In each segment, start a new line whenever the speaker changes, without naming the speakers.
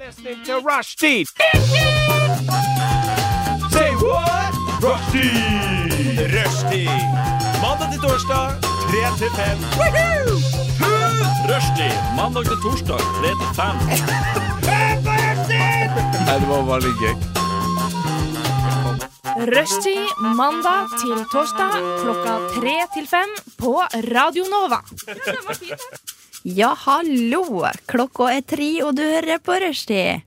listening to Rushdie. Say what? Rushdie. Rushdie. Mandag til torsdag, 3 til 5. Rushdie. Mandag til torsdag, 3 til 5.
Nei, det var veldig gøy.
Rushtid mandag til torsdag klokka tre til fem på Radio Nova.
Ja, hallo! Klokka er tre, og du hører på Rushtid.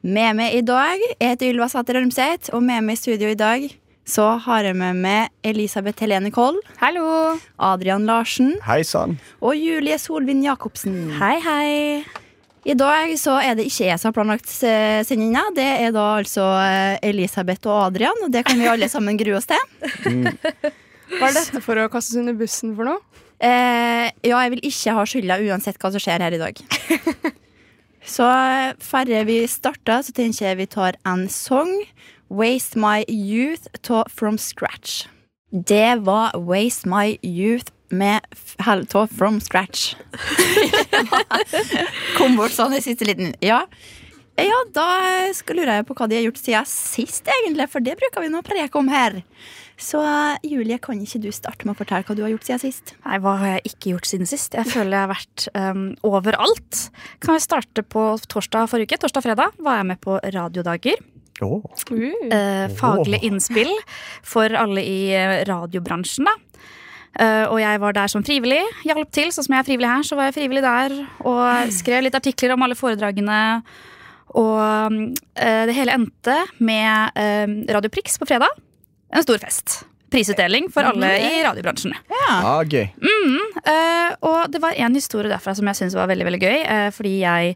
Med meg i dag jeg heter Ylva Sæter Ormseth, og med meg i studio i dag så har jeg med meg Elisabeth Helene Koll,
Hallo.
Adrian Larsen
Hei sann.
og Julie Solvin Jacobsen.
Hei, hei.
I dag så er det ikke jeg som har planlagt eh, sendinga, det er da altså eh, Elisabeth og Adrian, og det kan vi alle sammen grue oss til.
Hva er dette for å kastes under bussen for noe?
Eh, ja, jeg vil ikke ha skylda uansett hva som skjer her i dag. så eh, færre vi starter, så tenker jeg vi tar en sang. Waste My Youth ta From Scratch. Det var Waste My Youth med f- hel- ta From Scratch. Kom bort sånn i siste liten. Ja. Ja, da skal, lurer jeg på hva de har gjort siden sist, egentlig, for det bruker vi nå å preke om her. Så eh, Julie, kan ikke du starte med å fortelle hva du har gjort siden sist?
Nei, hva har jeg ikke gjort siden sist? Jeg føler jeg har vært ehm, overalt. Kan vi starte på torsdag forrige uke? Torsdag og fredag var jeg med på radiodager.
Oh.
Eh, faglig
Åh.
innspill for alle i eh, radiobransjen, da. Eh, og jeg var der som frivillig. Hjalp til, sånn som jeg er frivillig her, så var jeg frivillig der. Og skrev litt artikler om alle foredragene. Og eh, det hele endte med eh, Radio Prix på fredag. En stor fest. Prisutdeling for alle i radiobransjen.
Ah, gøy.
Eh, og det var en historie derfra som jeg syntes var veldig veldig gøy. eh, fordi jeg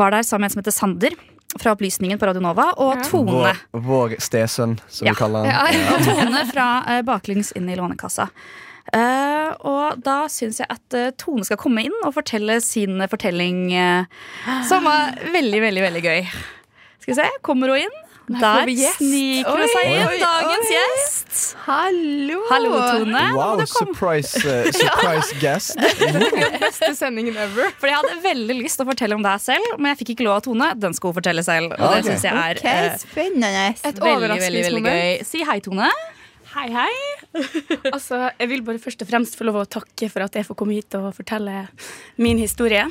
var der sammen med en som heter Sander fra Opplysningen på Radio Nova. Og Tone.
Vår, vår stesønn, som
Ja.
vi kaller han.
Og Tone fra eh, Baklengs inn i Lånekassa. Eh, og da syns jeg at eh, Tone skal komme inn og fortelle sin fortelling, eh, som var veldig, veldig veldig gøy. Skal vi se, kommer hun inn?
får
Der
vi gjest.
sniker hun seg
Oi,
inn,
oi,
dagens gjest.
Hallo!
Hallo, Tone.
Wow,
Du kom
surprise, eh, surprise guest.
Beste sendingen ever.
For jeg hadde veldig lyst til å fortelle om deg selv, men jeg fikk ikke lov av Tone. Den skal hun fortelle selv. Og
Ok.
det synes jeg er
Ok,
eh,
spennende.
Et
veldig, veldig, veldig
overraskelsesmoment.
gøy. Si hei, Tone.
Hei, hei. altså, jeg vil bare først og fremst få lov å takke for at jeg får komme hit og fortelle min historie.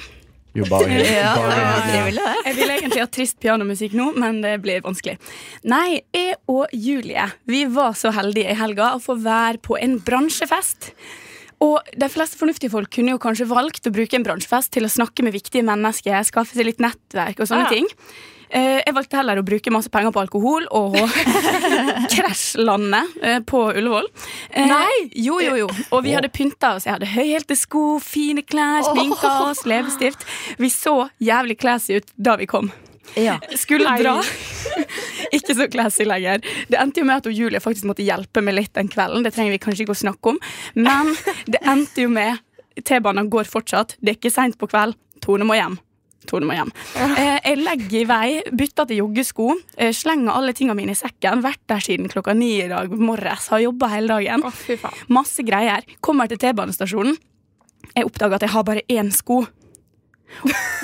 Jo, bare hyggelig.
Ja, det
Bare
var
hyggelig.
trivelig, det.
Jeg vil egentlig ha trist pianomusikk nå, men det blir vanskelig. Nei, jeg og Julie vi var så heldige i helga å få være på en bransjefest. Og de fleste fornuftige folk kunne jo kanskje valgt å bruke en bransjefest til å snakke med viktige mennesker, skaffe seg litt nettverk og sånne ting. Eh, Jeg valgte heller å bruke masse penger på alkohol og krasjlande eh, på Ullevål. Eh, Jo, jo, jo. Og vi hadde pynta oss. Jeg hadde høyhælte sko, fine klær, sminka oss, leppestift. Vi så jævlig classy ut da vi kom.
Ja.
Skulle dra. ikke så classy lenger. Det endte jo med at hun Julie faktisk måtte hjelpe meg litt den kvelden. Det trenger vi kanskje ikke å snakke om. Men det endte jo med T-banen går fortsatt. Det er ikke seint på kveld. Tone må hjem. Tone må hjem. Eh, jeg legger i vei, bytter til joggesko, eh, slenger alle tingene mine i sekken. Vært der siden klokka ni i dag morges. Har jobba hele dagen.
fy faen.
Masse greier. Kommer til T-banestasjonen. Jeg oppdager at jeg har bare én sko.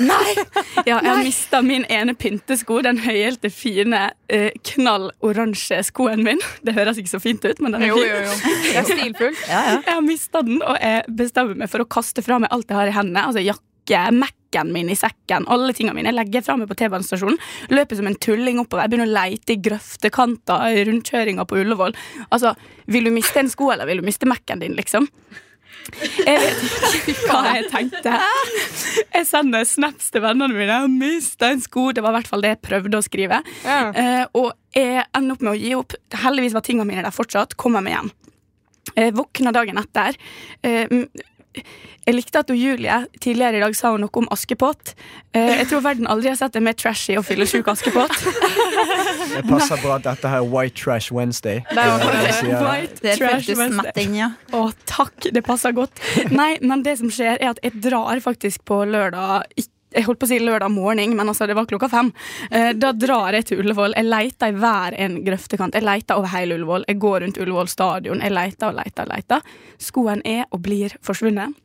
Nei!
Ja, jeg har mista min ene pyntesko, den høyhælte, fine, eh, knall oransje skoen min. Det høres ikke så fint ut, men den er
Jo,
fin.
jo, jo. Det er stilfullt.
Ja, ja.
Jeg har mista den, og jeg bestemmer meg for å kaste fra meg alt jeg har i hendene. Altså jakke, Mac-en min i sekken, alle tingene mine. Jeg legger fra meg på T-banestasjonen, løper som en tulling oppover. Jeg begynner å leite i grøftekanter, rundkjøringa på Ullevål. Altså, vil du miste en sko, eller vil du miste Mac-en din, liksom? Jeg vet ikke hva jeg tenkte. Jeg sender snaps til vennene mine. Jeg har mista en sko. Det var i hvert fall det jeg prøvde å skrive.
Ja.
Eh, og jeg ender opp med å gi opp. Heldigvis var tingene mine der fortsatt. Kommer meg hjem. Jeg våkner dagen etter. Eh, mm, jeg likte at hun Julie tidligere i dag sa hun noe om Askepott. Eh, jeg tror verden aldri har sett en mer trashy og fyllesyk Askepott.
Det passer bra at dette her er White Trash Wednesday. Eh,
Det er jo-
Jeg sier-
White
Det
trash
føltes
Wednesday.
smett inn, ja.
Å, takk, det passer godt. Nei, men det som skjer er at jeg drar faktisk på lørdag ik- jeg holdt på å si lørdag morgen, men altså det var klokka fem. Eh, Da drar jeg til Ullevål. Jeg leter i hver en grøftekant. Jeg leter over hele Ullevål. Jeg går rundt Ullevål stadion. Jeg leter og leter og leter. Skoen er og blir forsvunnet.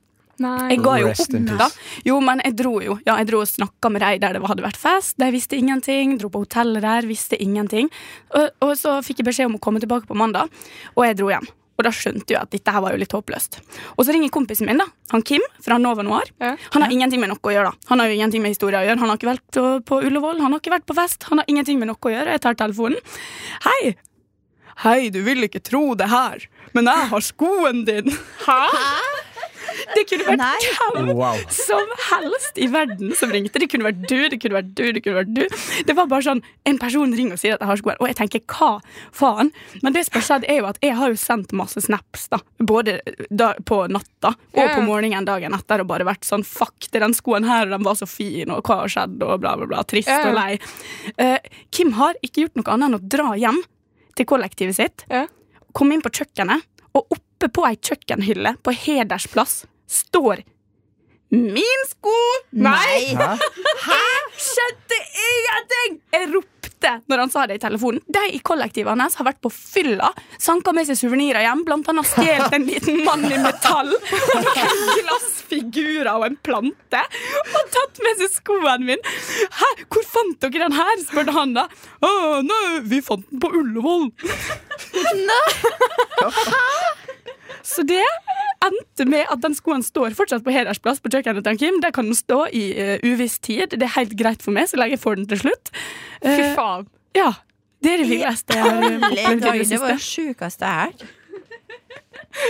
Nei.
Jeg ga jo
Rest
opp,
in
da.
peace.
Jo, men jeg dro jo. Ja, jeg dro og snakka med de der det hadde vært fest. De visste ingenting. Dro på hotellet der, visste ingenting. Og, og så fikk jeg beskjed om å komme tilbake på mandag, og jeg dro hjem. Og da skjønte jeg at dette her var jo litt håpløst. Og så ringer kompisen min, da. Han Kim fra Nova Noir.
Ja.
Han har ingenting med noe å gjøre, da. Han har jo ingenting med historie å gjøre. Han har ikke vært på- på Ullevål, han har ikke vært på fest. Han har ingenting med noe å gjøre. Jeg tar telefonen. Hei! Hei, du vil ikke tro det her, men jeg har skoen din! Hæ? Det kunne vært
Nei.
hvem
Wow.
som helst i verden som ringte. Det kunne vært du, det kunne vært du, det kunne vært du. Det var bare sånn, En person ringer og sier at jeg har skoen, og jeg tenker hva faen? Men det som har skjedd, er jo at jeg har jo sendt masse snaps, da. Både da, på natta og
Ja,
på
ja.
morgenen dagen etter og bare vært sånn fuck det, er den skoen her, og den var så fin, og hva har skjedd, og bla, bla, bla. Trist
Ja, ja.
og lei. Eh, Kim har ikke gjort noe annet enn å dra hjem til kollektivet sitt
Ja.
kom inn på kjøkkenet, og oppe på ei kjøkkenhylle på hedersplass står Min sko! Nei!
Hæ?
Skjønte ingenting! Jeg ropte når han sa det i telefonen. De i kollektivet hans har vært på fylla, sanka med seg suvenirer hjem, blant annet stjålet en liten mann i metall, og noen glassfigurer og en plante, og tatt med seg skoen min. Hæ, hvor fant dere den her? spurte han da. Å, nei, vi fant den på Ullevål. Så det endte med at den skoen står fortsatt på hedersplass på kjøkkenet til Kim. Der kan den stå i eh, uviss tid. Det er helt greit for meg, så lenge jeg får den til slutt.
Fy
Eh,
faen.
ja, det er det villeste jeg har
Alle
opplevd i
dager,
det
det var
siste.
det sjukeste jeg har hørt.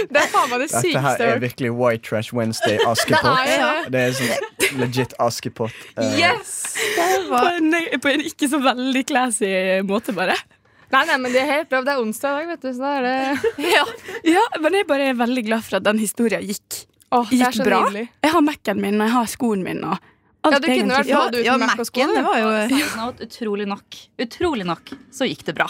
Det er faen meg det
Dette her
sykeste jeg
er
har hørt.
virkelig White Trash Wednesday
Det
Askepott.
er jo det.
Det er sånn legit Askepott. eh,
Yes!
Det
På
var
en, på en ikke så veldig classy måte, bare.
Nei, nei, men det er helt bra. Det er onsdag i dag, vet du, så da er det
Ja, men jeg bare er veldig glad for at den historien gikk.
Åh, det er
Gikk
så
bra.
nydelig.
Jeg har Mac-en min, og jeg har skoen min, og alt
Ja, du kunne vært
egentlig.
både uten
ja,
Mac og sko.
Mac-en, det var jo
Sannheten er at Utrolig nok, utrolig nok, så gikk det bra.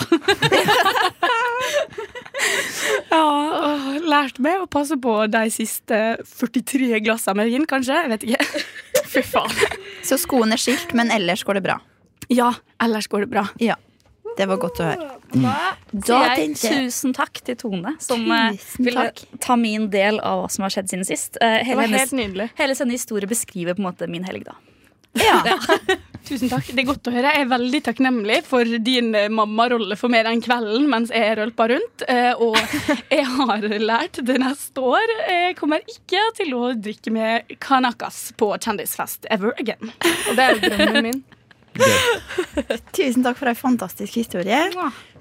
Ja, og lært meg å passe på de siste 43 glassene med vin, kanskje. Jeg vet ikke. Fy faen.
Så skoen er skilt, men ellers går det bra.
Ja, ellers går det bra.
Ja, Det var godt å høre. Da
Så jeg
tenkte jeg
tusen takk til Tone, som eh,
Tusen
ville
takk.
ta min del av hva som har skjedd siden sist. Eh,
Det
Hele
var
hennes,
helt nydelig.
hele sin historie beskriver på en måte min helg, da.
ja,
Tusen takk. Det er godt å høre. Jeg er veldig takknemlig for din eh, mammarolle for mer enn kvelden mens jeg rølpa rundt. Eh, Og jeg har lært det neste år. Jeg kommer ikke til å drikke med Kanakas på kjendisfest ever again.
Og det er jo drømmen min.
Tusen takk for ei fantastisk historie.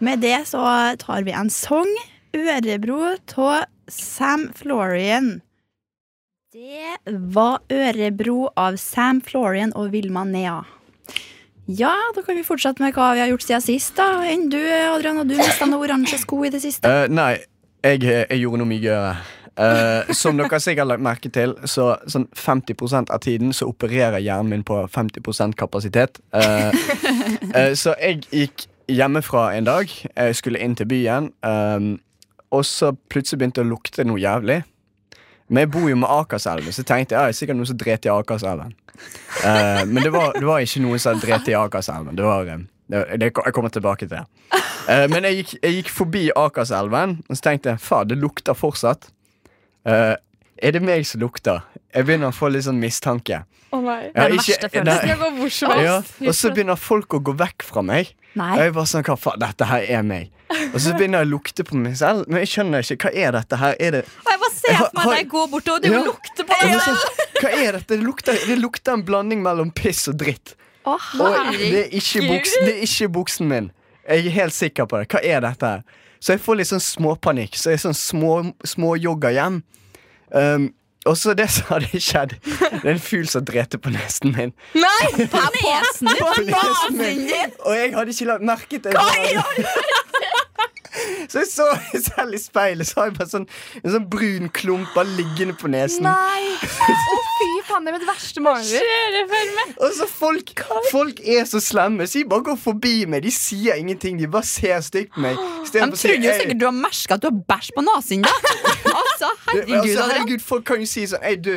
Med det så tar vi en sang. 'Ørebro' av Sam Florian. Det var 'Ørebro' av Sam Florian og Vilma Nea. Ja, da kan vi fortsette med hva vi har gjort siden sist. da Enn du, Adrian, og du mista noen oransje sko i det siste.
Eh, nei, jeg, jeg gjorde noe mye gøyere. Eh, som dere sikkert har lagt merke til, så sånn 50 av tiden så opererer hjernen min på 50 kapasitet. Eh, eh, så jeg gikk hjemmefra en dag. Jeg skulle inn til byen. eh, og så plutselig begynte det å lukte noe jævlig. Men jeg bor jo med Akerselven, så tenkte jeg ja, det er sikkert noen som dreit i Akerselven. Eh, men det var, det var ikke noen som dreit i Akerselven. Det var, eh, det, det, jeg kommer tilbake til det. Eh, men jeg gikk, jeg gikk forbi Akerselven, og så tenkte jeg faen, det lukter fortsatt. Eh, er det meg som lukter? Jeg begynner å få litt sånn mistanke.
Å nei.
Jeg har
Den verste følelsen.
nei.
Det skal gå hvor som
ja,
helst.
og så begynner folk å gå vekk fra meg. Og
Nei.
jeg bare sånn, hva faen, dette her er meg. Og så begynner jeg å lukte på meg selv, men jeg skjønner ikke. Hva er dette her? Er det
jeg bare ser
for meg Har- deg
gå bort og
du Ja.
lukter på
Jeg var sånn, Hva er dette? Det lukter, det lukter en blanding mellom piss og dritt.
Å,
Og det er ikke buksen, det er ikke buksen min. Jeg er helt sikker på det. Hva er dette her? Så jeg får litt sånn småpanikk. Så jeg sånn små, små jogger hjem. Um, og så det som hadde skjedd, det er en fugl som drepte på nesten min.
Nei! På nesen din!
På nesen min. Og jeg hadde ikke lagt merke til det. Så jeg så meg selv i speilet, så har jeg bare sånn, en sånn brun klump bare liggende på nesen.
Å fy faen, det er mitt verste mareritt.
Og så Altså, folk, folk er så slemme, så de bare går forbi meg. De sier ingenting. De bare ser stygt på meg. I stedet
De
for å si,
trodde jo
«Ei,
sikkert du har merka at du har bæsj på nesen, da! Altså,
du-
herregud,
altså,
Adrian.
herregud, folk kan jo si sånn Ei, du,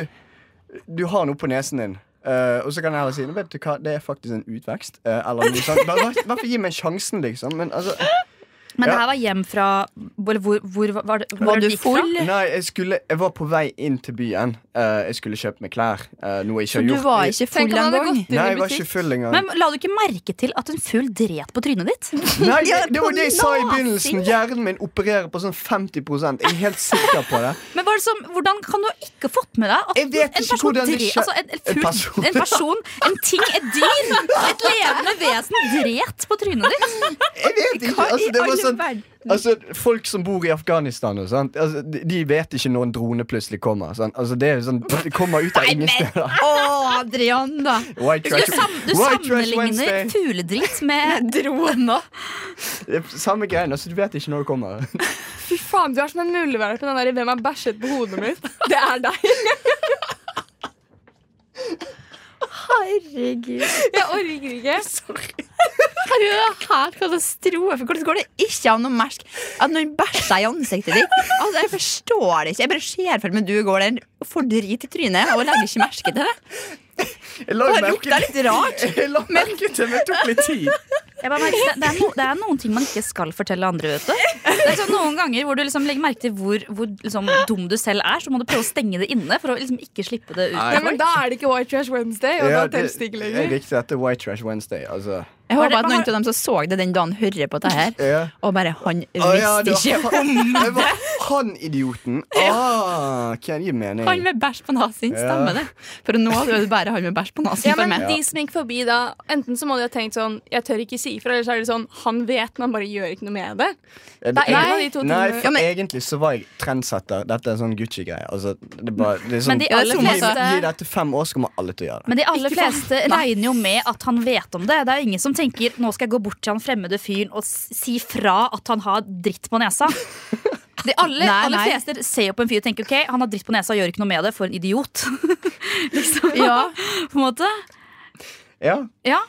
du har noe på nesen din. Eh, og så kan jeg heller si «Nå vet du hva, det er faktisk en utvekst. eh, eller noe sånt. Bare, bare, bare gi meg sjansen, liksom. Men altså
Men
Ja.
det her var hjem fra Hvor, hvor, hvor var det hvor
Var du
gikk fra?
full?
Nei, jeg, skulle, jeg var på vei inn til byen. Eh, jeg skulle kjøpe meg klær. eh, noe jeg ikke
Så
har
du
gjort.
var
i-
ikke
Tenk
full
om han hadde
engang?
gått inn
Nei,
i
jeg var ikke
butikk.
full engang.
Men la du ikke merke til at en full dret på trynet ditt?
Nei,
Ja,
det var
på
det jeg sa i
nasen.
begynnelsen. Hjernen min opererer på sånn 50 Jeg er helt sikker på det.
Men hva er det som, Hvordan kan du ikke ha fått med deg at
Jeg vet
en
ikke
person,
hvordan det
dre-
skjer-
altså en, en,
En
full, en,
person.
person. en ting, et dyr, et levende vesen dret på trynet ditt?
Jeg vet ikke,
Hva
altså,
i
det var
all
sånn,
verden?
altså, Folk som bor i Afghanistan, og sånt, altså, de, de vet ikke når en drone plutselig kommer. Sånn. Altså, det, er jo sånn, det kommer ut av ingen steder.
Å, Adrian, da!
White
Du,
trash,
sam, du
white trash Wednesday.
sammenligner fugledritt med
Droner.
Det er Samme greien. Altså, du vet ikke når det kommer.
Fy faen, du er som en muldvarp med den der 'Hvem har bæsjet på hodet mitt?' Det er deg.
Herregud.
Jeg orker ikke.
Herregud, det er helt katastrofe. Hvordan går det ikke an å merke at noen bæsjer i ansiktet ditt? Altså, Jeg forstår det ikke. Jeg bare ser for meg du går der og får drit i trynet og legger ikke merke til det.
Jeg
Og
la
det lukter litt rart.
Jeg la merke til men det tok litt tid.
jeg bare merker, det, det, er no, det er noen ting man ikke skal fortelle andre. vet du Det er sånn Noen ganger hvor du liksom legger merke til hvor, hvor liksom dum du selv er, så må du prøve å stenge det inne for å liksom ikke slippe det ut.
Nei, men Da er det ikke White Trash Wednesday, og
Ja,
da telles det ikke
det er
lenger.
riktig, dette er White Trash Wednesday. Altså.
Jeg
Var
håper
det-
at noen av dem som så det den dagen, hører på det her.
Ja.
Og bare han
Å, ja, det
visste ikke
var- Det var han idioten. Ah, hva gir mening?
Han med bæsj på nesen, stemmer det? For nå er det bare han med bæsj på nesen
Ja,
for
men
meg.
de som gikk forbi da Enten så må de ha tenkt sånn 'Jeg tør ikke si ifra', eller så er det sånn 'Han vet, men han bare gjør ikke noe med det'.
Er
Det er en av
egentlig-
de to
Nei,
tingene.
for egentlig så var jeg trendsetter. Dette er en sånn Gucci-greie. Altså, det er bare, det er sånn,
Men de aller
gi,
fleste-
gi dette fem år, så kommer alle til å gjøre det.
Men de aller fleste regner jo med at han vet om det. Det er jo ingen som tenker nå skal jeg gå bort til han fremmede fyren og s- si fra at han har dritt på nesa. De aller,
Nei,
aller
nei.
fleste ser jo på en fyr og tenker ok, han har dritt på nesa og gjør ikke noe med det. For en idiot. liksom,
Ja.
på en måte.
Ja.
Ja.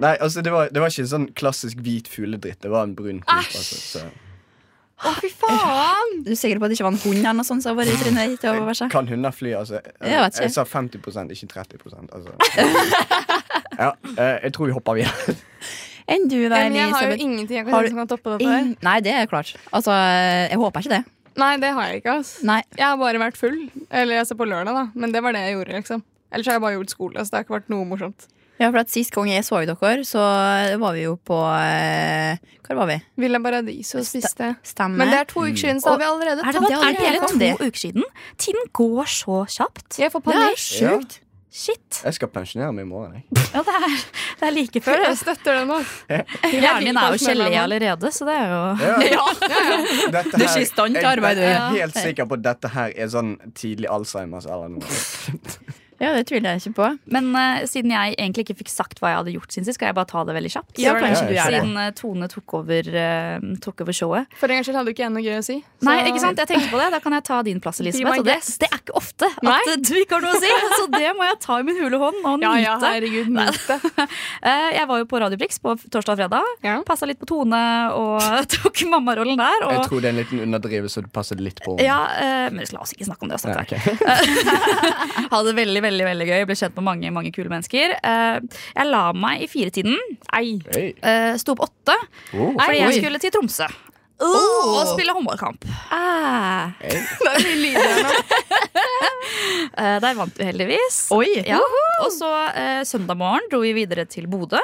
Nei, altså, det var, det var ikke en sånn klassisk hvit fugledritt. Det var en brun klype. Altså, så-
Å, fy faen!
Du er sikker på at det ikke var en hund eller noe sånt som var i trynet ditt? og bæsja?
kan hunder fly? Altså,
Jeg vet ikke.
sa 50 ikke 30 altså. Ja, eh, jeg tror vi hopper videre.
Enn du da,
Men jeg har jo
Elisabeth?
ingenting jeg
Har
kan
du
si som kan toppe dette her.
Ingen- Nei, det er klart. Altså, jeg håper ikke det.
Nei, det har jeg ikke, ass.
Nei.
Jeg har bare vært full. Eller altså på lørdag, da. Men det var det jeg gjorde, liksom. Ellers har jeg bare gjort skole, så det har ikke vært noe morsomt.
Ja, for at Sist gang jeg så dere, så var vi jo på eh, Hvor var vi?
Villa Paradiso spiste.
Stemme.
Men det er to uker siden, så da har vi allerede
Er det,
det
er
allerede
det hele
kom det?
to uker siden? Tiden går så kjapt.
Jeg får panikk.
Sjukt.
Shit.
Jeg skal pensjonere meg i morgen. Jeg.
Ja, det, er, det er like før.
Jeg
det.
støtter det nå.
Hjernen min er jo
Jeg liker
gelé
oss mellom.
allerede, så det er jo
Ja. Dette
Du
her-
er ikke i stand til arbeid, du.
Jeg, jeg er helt sikker på at dette her er sånn tidlig Alzheimers eller noe.
Ja, det tviler jeg ikke på.
Men eh, siden jeg egentlig ikke fikk sagt hva jeg hadde gjort siden sist, skal jeg bare ta det veldig kjapt.
Ja, kanskje
Ja,
du
jeg
er det.
Siden eh, Tone tok over, eh, tok over showet.
For en gangs skyld hadde du ikke jeg noe gøy å si. Så-
Nei, ikke sant? Jeg tenkte på det. Da kan jeg ta din plass,
my
Elisabeth. Og det, det er ikke ofte at
Nei.
eh, du ikke har noe å si, så det må jeg ta i min hule hånd og nyte.
Ja, ja, herregud, nyt det.
Eh, Jeg var jo på Radioprix på torsdag og fredag.
Ja.
Passa litt på Tone og tok mammarollen der.
Jeg
Og
tror det er en liten underdrivelse, du passer litt på.
ja, eh, men la oss ikke snakke om det.
Ja,
Ja,
ok.
Hadde det veldig veldig, veldig gøy. Ble kjent med mange mange kule mennesker. Eh, Jeg la meg i firetiden. Ei.
Hey.
Eh, Sto opp åtte
Oh.
fordi jeg
Oi.
skulle til Tromsø. Og spille håndballkamp.
Ah.
Eh, Der vant vi heldigvis.
Oi!
Ja. Og så eh, søndag morgen dro vi videre til Bodø.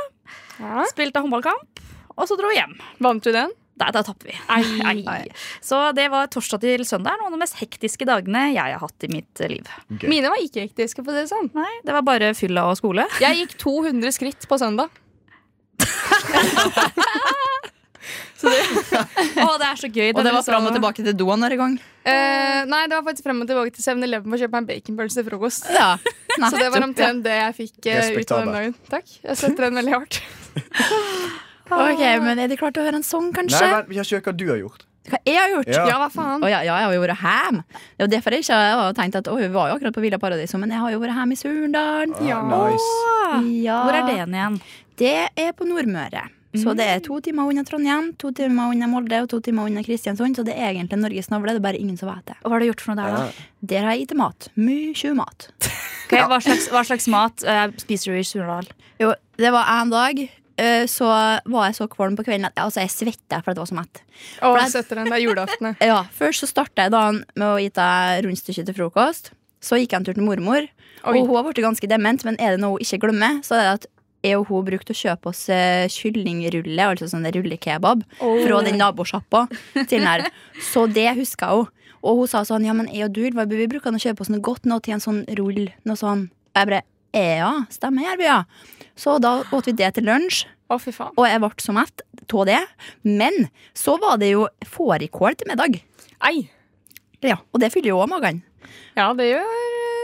Ja.
Spilte håndballkamp, og så dro vi hjem.
Vant du den?
Der, der tapte vi. Ei, ei. Så det var torsdag til søndag. Noen av de mest hektiske dagene jeg har hatt i mitt eh, liv.
Gøy.
Mine var ikke hektiske, for å si det sånn.
Nei, Det var bare fylla og skole.
Jeg gikk 200 skritt på søndag.
Å, det er så gøy.
Og det var fram og
liksom-
tilbake til doen hver gang.
Eh, nei, det var faktisk frem og tilbake til 7-Eleven for å kjøpe meg en baconpølse til frokost.
Ja. Nei.
Så det var omtrent det jeg fikk eh, ut av den dagen.
Respektabelt.
Takk. Jeg støtter den veldig hardt.
Ok, men Er det klart å høre en sang, kanskje?
Nei, vent, vi har ikke hørt hva du har gjort.
Hva jeg har gjort?
Ja.
Ja, hva faen?
Å, ja, ja, jeg har jo vært hjem. Det er jo derfor jeg ikke har tenkt at å, hun var jo akkurat på Villa Paradiso, men jeg har jo vært hjem i Surndalen.
Ah, nice.
Ja.
Hvor er det igjen?
Det er på Nordmøre. Så det er to timer unna Trondheim, to timer unna Molde og to timer unna Kristiansund. Så det er egentlig Norges navle, det er bare ingen som vet det.
Og Hva har du gjort for noe der, da?
Ja.
Der har jeg gitt mat. Mye mat.
Ok, hva, slags, hva slags mat eh, spiser du i Surnadal?
Jo, det var en dag eh, eh, så var jeg så kvalm på kvelden at jeg, altså, jeg svetta for at jeg var så mett.
Å, setter den. Det er julaften. ja.
Eh, Ja, Først så starta jeg dagen med å gi deg rundstykke til frokost. Så gikk jeg en tur til mormor,
Oi.
og hun har blitt ganske dement. Men er det noe hun ikke glemmer, så er det at jeg og hun brukte å kjøpe oss eh, kyllingrulle, altså sånn rullekebab, fra den nabosjappa til den her. Så det huska hun. Og hun sa sånn, ja, men jeg og du, hva vi bruker å kjøpe oss noe godt nå til en sånn rull, noe sånn. Og jeg bare, ja, stemmer, Gjerby, ja. Så da åt vi det til lunsj.
Å, fy faen.
Og jeg ble så mett av det. Men så var det jo fårikål til middag.
Ei.
Ja, Og det fyller jo òg magen.
Ja, det gjør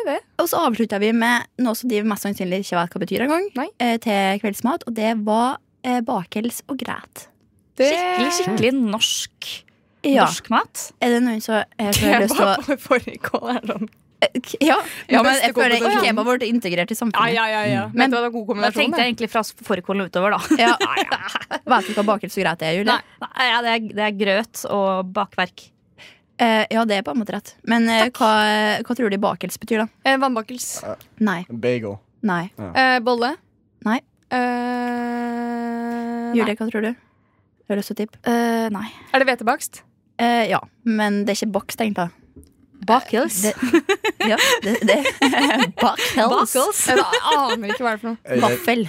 det.
Og så avslutta vi med noe som de mest sannsynlig ikke vet hva betyr engang,
Nei.
eh, til kveldsmat, og det var eh, bakels og græt.
det...
Skikkelig, skikkelig norsk,
Ja.
norsk mat.
Er det noen som eh, får lyst til
Kebab
å
og fårikål er sånn.
K- Ja, ja men
Beste
jeg føler
kombinasjonen.
kebab ble integrert i
Ja,
samfunnet.
ja, ja. ja.
Men-
Mm. Men, Vet du hva, det er god
Da
kombinasjon.
tenkte
det.
jeg egentlig fra fårikålen utover, da.
Ja. Vet du hva bakels og græt er, Julie?
Nei, nei, ja, det, er, det er grøt og bakverk.
Eh, ja, det er på en måte rett. Men eh, hva, hva tror de bakels betyr, da?
Eh, vannbakkels.
Nei.
Bagel.
Nei.
Eh, bolle.
Nei.
Eh, nei.
Julie, hva tror du? Har du lyst til å tippe?
Eh, nei.
Er det hvetebakst?
Eh, ja, men det er ikke baks, tenkte jeg. Eh,
Bakels.
Det, ja, det, det. Bakels.
Bakels.
Jeg aner ikke hva det er for noe.
Er det-
Vaffel.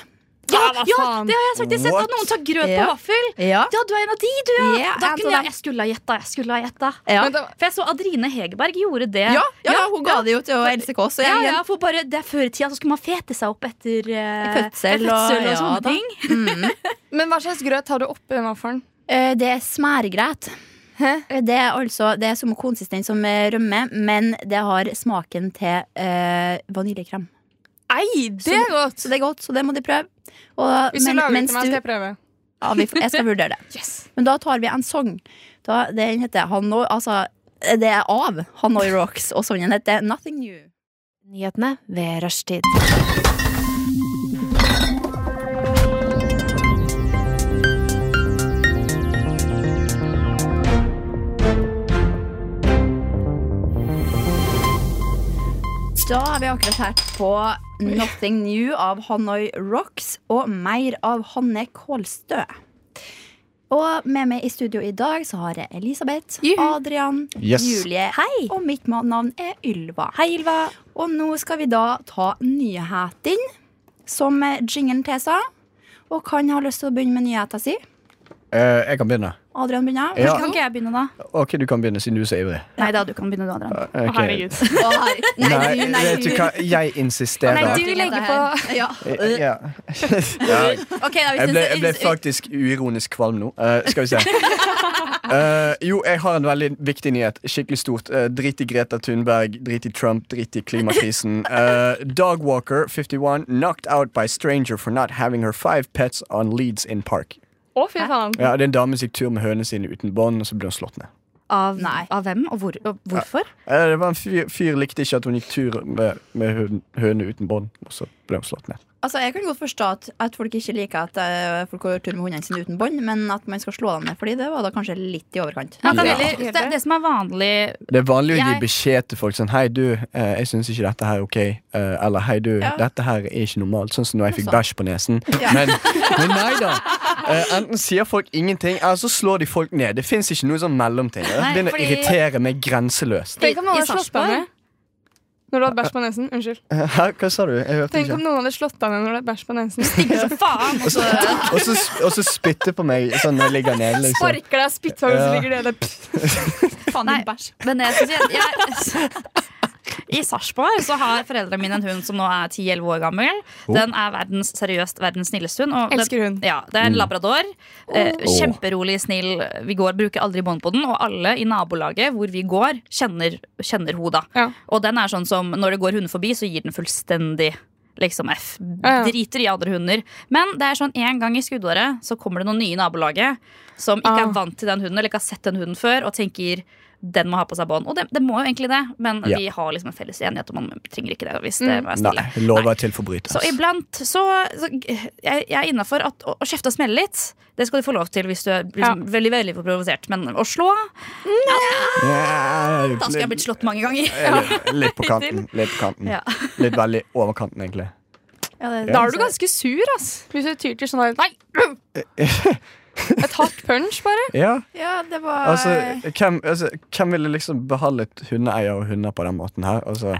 Ja,
hva
ja,
faen?
det har jeg sagt. Jeg har sett
Eh, What?
at noen tar grøt på
Ja.
vaffel.
Ja.
Ja, du er en av de, du, ja.
Ja,
da
en av
kunne
dem.
jeg, jeg skulle ha gjetta, jeg skulle ha gjetta.
Ja.
Men da-
For jeg så Adrine Hegerberg gjorde det.
Ja, ja, hun ga det jo til Else Kåss. og
Ja,
gjengen.
ja, for bare det er Før i tida så skulle man fete seg opp etter eh,
Fødsel og-
fødsel og
ja
sånne
da.
ting.
Men hva slags grøt har du oppi den vaffelen?
Eh, Det er smærgrøt. Det er altså Det er samme konsistens som eh, rømme, men det har smaken til eh, vaniljekrem.
Ei, det er godt!
Så det er godt, så det må de prøve. Og,
Hvis du
men-
lager det
mens
til meg, skal
du-
jeg prøve.
ja, vi, får- jeg skal vurdere det. Men da tar vi en sang. Da, den heter Hanoi Altså, det er av Hanoi Rocks, og sangen heter Nothing New.
Nyhetene ved rushtid.
Da har vi akkurat hørt på Nothing New av Hanoi Rocks og mer av Hanne Kålstø. Og med meg i studio i dag så har jeg Elisabeth, Adrian,
Yes.
Julie og mitt ma- navn er Ylva. Hei, Ylva. Og nå skal vi da ta nyheten, som jingelen tilsa. Og kan ha lyst til å begynne med nyheten sin.
Eh, jeg kan begynne.
Adrian begynner.
Ja.
Kan ikke jeg begynne da?
Ok, du kan begynne, siden du er så ivrig.
Nei da, du kan begynne du, Adrian.
Ok.
Å, herregud. Nei,
Nei,
du- nei,
vet du hva, jeg insisterer.
Nei,
du legger på ja.
Ja.
Ok, da, hvis
Jeg ble,
du-
jeg ble faktisk uironisk kvalm nå. Eh, skal vi se. Eh, jo, jeg har en veldig viktig nyhet. Skikkelig stort. Eh, drit i Greta Thunberg, drit i Trump, drit i klimakrisen. Eh, Dog Walker, 51, knocked out by stranger for not having her five pets on leads in park.
Å, fy faen.
Ja, det er En dame som gikk tur med hønene sine uten bånd, og så ble hun slått ned.
Av,
Nei.
av hvem og, hvor, og hvorfor?
Eh, det var En fyr, fyr likte ikke at hun gikk tur med, med høn- høne uten bånd, og så ble hun slått ned.
Altså, Jeg kan godt forstå at, at folk ikke liker at eh, folk går tur med hundene sine uten bånd, men at man skal slå dem ned fordi det var da kanskje litt i overkant.
Man kan
Ja.
heller, det, det som er vanlig
Det er vanlig å gi
Jeg-
beskjed til folk sånn Hei, du, eh, jeg syns ikke dette her er ok. Eh, eller hei, du, dette her er ikke normalt. Sånn som når jeg fikk bæsj på nesen. Men, men nei da. Eh, enten sier folk ingenting, eller så slår de folk ned. Det fins ikke noe sånn mellomting. Det
Nei,
begynner å
fordi-
irritere meg grenseløst.
Tenk om noen
I
hadde slått deg
Sarpsborg?
ned når du hadde bæsj på nesen. Unnskyld.
Eh, Hæ, hva sa du? Jeg hørte
Tenk
ikke.
om noen hadde slått deg ned når du hadde bæsj på nesen.
Stinker som faen! altså.
Og så, og så, og så spytte på meg sånn når jeg ligger nede, liksom.
Sparker deg spytthår, og så
Ja.
ligger det der. Pff.
Nei, men jeg synes jeg, jeg I Sarpsborg så har foreldrene mine en hund som nå er 10-11 år gammel. Den er verdens, seriøst verdens snilleste hund. og den-
Elsker hund.
Ja, det er en labrador. Eh, kjemperolig, snill. Vi går, bruker aldri bånd på den. Og alle i nabolaget hvor vi går, kjenner, kjenner hun da.
Ja.
Og den er sånn som når det går hunder forbi, så gir den fullstendig liksom F.
Ja, ja.
Driter i andre hunder. Men det er sånn en gang i skuddåret så kommer det noen nye i nabolaget som ikke
Ah.
er vant til den hunden eller ikke har sett den hunden før, og tenker den må ha på seg bånd. Og det, det må jo egentlig det, men
Ja.
vi har liksom en felles enighet om man trenger ikke det. hvis det
Mm.
må være
Nei,
stille.
lover til forbryter.
Så iblant så, så jeg, jeg er innafor at å, å kjefte og smelle litt, det skal du få lov til hvis du er liksom, veldig veldig provosert. Men å slå, da skulle jeg blitt slått mange ganger.
Litt på kanten. Litt, på kanten.
Ja.
litt veldig overkanten, egentlig.
Ja, det,
Da
Da er du ganske sur, ass. Hvis du tyr til sånn her Nei! Et hardt punch, bare.
Ja,
Ja, det var
altså hvem, altså, hvem ville liksom behandlet hundeeier og hunder på den måten her? Altså,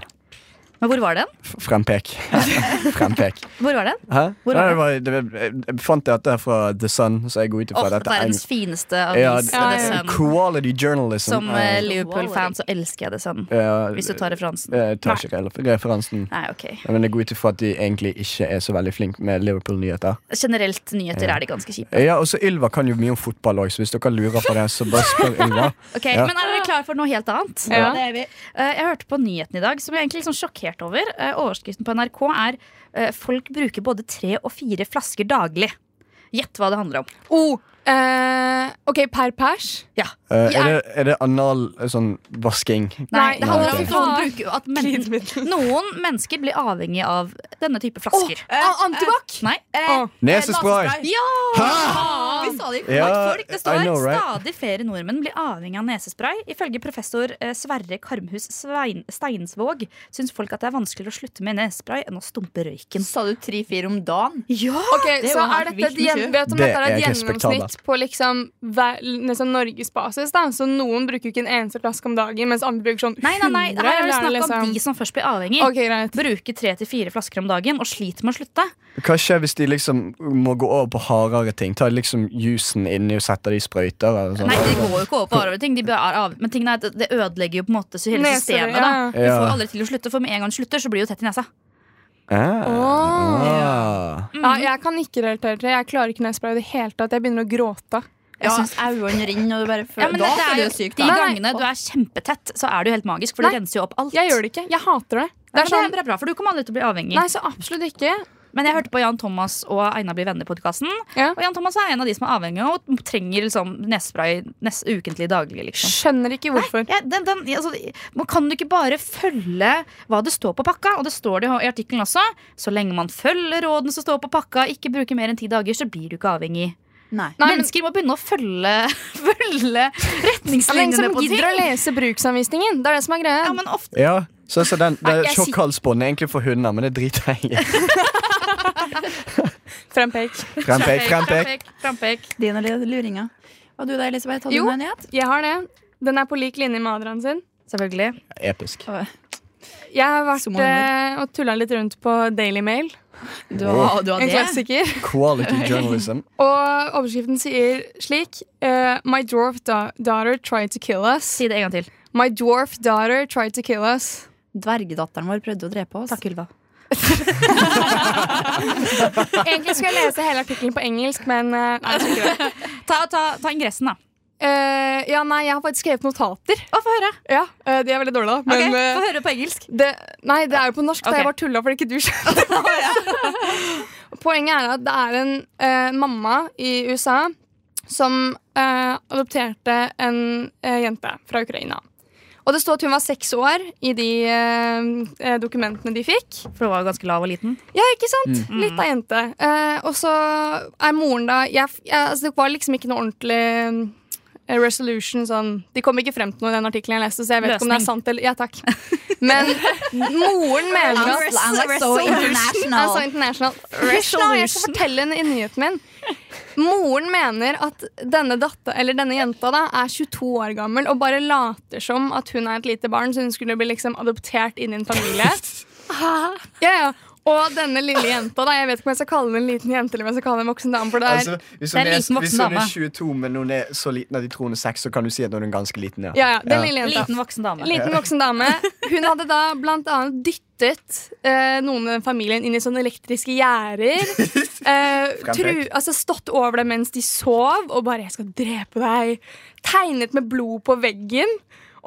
Men hvor var den?
f- frempek. frempek.
Hvor var den?
Hæ?
Hvor
Nei,
var
det var, det, jeg fant dette her fra The Sun, så jeg går ut ifra
Åh,
dette.
verdens fineste avis.
Ja,
The
ja, ja.
Sun.
Quality journalism.
Som eh,
eh,
Liverpool-fan så elsker jeg det sånn.
ja, eh,
Hvis du tar referansen.
Jeg tar ikke rele- referansen.
Nei, ok.
Ja, Men det går ut ifra at de egentlig ikke er så veldig flinke med Liverpool-nyheter.
Generelt nyheter er de ganske kjipe.
Ja, og så Ylva kan jo mye om fotball òg, så hvis dere lurer på det, så bare spør Ylva.
Ok,
Ja.
Men er dere klare for noe helt annet?
Ja.
det er vi.
Eh, Jeg hørte på nyheten i dag, som jeg egentlig er litt sånn sjokkert over. Eh, Overskriften på NRK er eh, 'Folk bruker både tre og fire flasker daglig'. Gjett hva det handler om.
Oh, eh, OK, per pers.
Eh, er, det, er det anal eh, sånn vasking?
Nei, det handler om
Nei,
at noen, bruker, at men, noen mennesker blir avhengig av denne type flasker.
An- Antibac!
Eh, Nei.
Åh.
Nesespray!
Ja! Vi sa det jo
Ja,
klart folk. Det står
I know, right?
stadig flere nordmenn blir avhengig av nesespray. Ifølge professor eh, Sverre Karmhus Svein, Steinsvåg syns folk at det er vanskeligere å slutte med nesespray enn å stumpe røyken.
Sa du tre-fire om dagen?
Ja!
Ok,
er
så
jo helt
er dette et,
vilt
gjen,
mye.
vet du om
Det
dette er et
er respektabelt.
gjennomsnitt på liksom, hver, nesten norgesbasis. Da. Så noen bruker ikke en eneste flaske om dagen, mens andre bruker sånn 100.
Nei, nei, nei. Her er det
eller liksom-
snakk om de som først blir avhengig.
Ok, greit.
Bruker tre til fire flasker om dagen og sliter med å slutte.
Hva skjer hvis de liksom må gå over på hardere ting? Tar liksom jusen inni og setter det i sprøyter? Eller sånn.
Nei, de går jo ikke over på hardere ting. De bare er av, men tingene er at det ødelegger jo på en måte så hele
Neser,
systemet.
ja,
da
ja.
Du får aldri til å slutte, for med en gang du slutter, så blir du tett i nesa.
Ah, ah.
Mhm.
Ja, jeg kan ikke relatere til det. Jeg klarer ikke nesespray i det hele tatt. Jeg begynner å gråte.
Ja, øynene renner, og du bare føler
Ja, men
Da
det er
føler du
jo-
deg syk,
De
da.
gangene du er kjempetett, så er det jo helt magisk, for det
Nei,
renser jo opp alt.
Jeg gjør det ikke. Jeg hater
Nei,
det. Det
men
er sånn
det er bra, for du kommer aldri til å bli avhengig.
Nei, så absolutt ikke.
Men jeg hørte på Jan Thomas og Einar blir venner-podkasten.
Ja.
Og Jan Thomas er en av de som er avhengig og trenger liksom nesespray nes- ukentlig daglig. liksom
Skjønner ikke hvorfor.
Ja, den, den, altså, man kan jo ikke bare følge hva det står på pakka. Og det står det jo i artikkelen også. Så lenge man følger rådene som står på pakka, ikke bruker mer enn ti dager, så blir du ikke avhengig.
Nei.
Nei, men,
Mennesker må begynne å følge, følge
ja, men
retningslinjene
som
på ting.
gidder å lese bruksanvisningen. Det er det som er greia.
Ja, men ofte
Ja, så, så den, det
Nei,
er
jeg sier-
Tjokkhalsbånd er egentlig for hunder, men det driter jeg i.
Frempek.
Frempek, frempek.
Frampek, frampek.
Dine lille luringer. Og du da, Elisabeth, hadde
Jo.
du en nyhet?
Jeg har det. Den er på lik linje med Adrian sin.
Selvfølgelig.
Episk.
Jeg har vært
Som
eh, og tulla litt rundt på Daily Mail.
Du,
Wow.
du
En klassiker.
Quality journalism.
Og overskriften sier slik eh, My dwarf da daughter tried to kill us.
Si det en gang til.
My dwarf daughter tried to kill us.
Dvergedatteren vår prøvde å drepe oss.
Takk, Ylva.
Egentlig skulle jeg lese hele artikkelen på engelsk, men eh, nei, jeg skal ikke det.
Ta, ta, ta ingressen, da.
Eh, ja, nei, jeg har faktisk skrevet notater.
Å, få høre.
Ja, eh, De er veldig dårlige, da.
Ok,
Men eh,
Få høre på engelsk.
Det, nei, det er jo på norsk,
Ok.
da jeg var tulla fordi ikke du skjønte det. Poenget er at det er en eh, mamma i USA som eh, adopterte en eh, jente fra Ukraina. Og det står at hun var seks år i de eh, eh, dokumentene de fikk.
For hun var jo ganske lav og liten.
Ja, ikke sant? Litt av jente. Eh, og så er moren da jeg, jeg, altså Det var liksom ikke noe ordentlig eh, resolution sånn De kom ikke frem til noe i den artikkelen jeg leste, så jeg vet ikke om det
Løsning.
er sant eller Ja, takk. Men moren mener at
I'm like so
I'm
international.
so international. Resolution. Jeg skal fortelle en i nyheten min. Moren mener at denne, datter, eller denne jenta da, er 22 år gammel og bare later som at hun er et lite barn, så hun skulle bli liksom adoptert inn i en familie. Ja, ja. Og denne lille jenta, da. Jeg vet ikke om jeg skal kalle henne en liten jente eller om jeg skal kalle henne en voksen dame. For det er,
Altså, hvis
Det er en liten voksen
hvis hun er
dame.
22, men hun er så liten at de tror hun er 6, så kan du si at hun er ganske liten. Ja.
ja, ja, den lille jenta.
Liten voksen dame.
Liten voksen dame. Hun hadde da blant annet dyttet eh, noen i den familien inn i sånne elektriske gjerder. Eh, tru, altså stått over dem mens de sov og bare 'jeg skal drepe deg'. Tegnet med blod på veggen.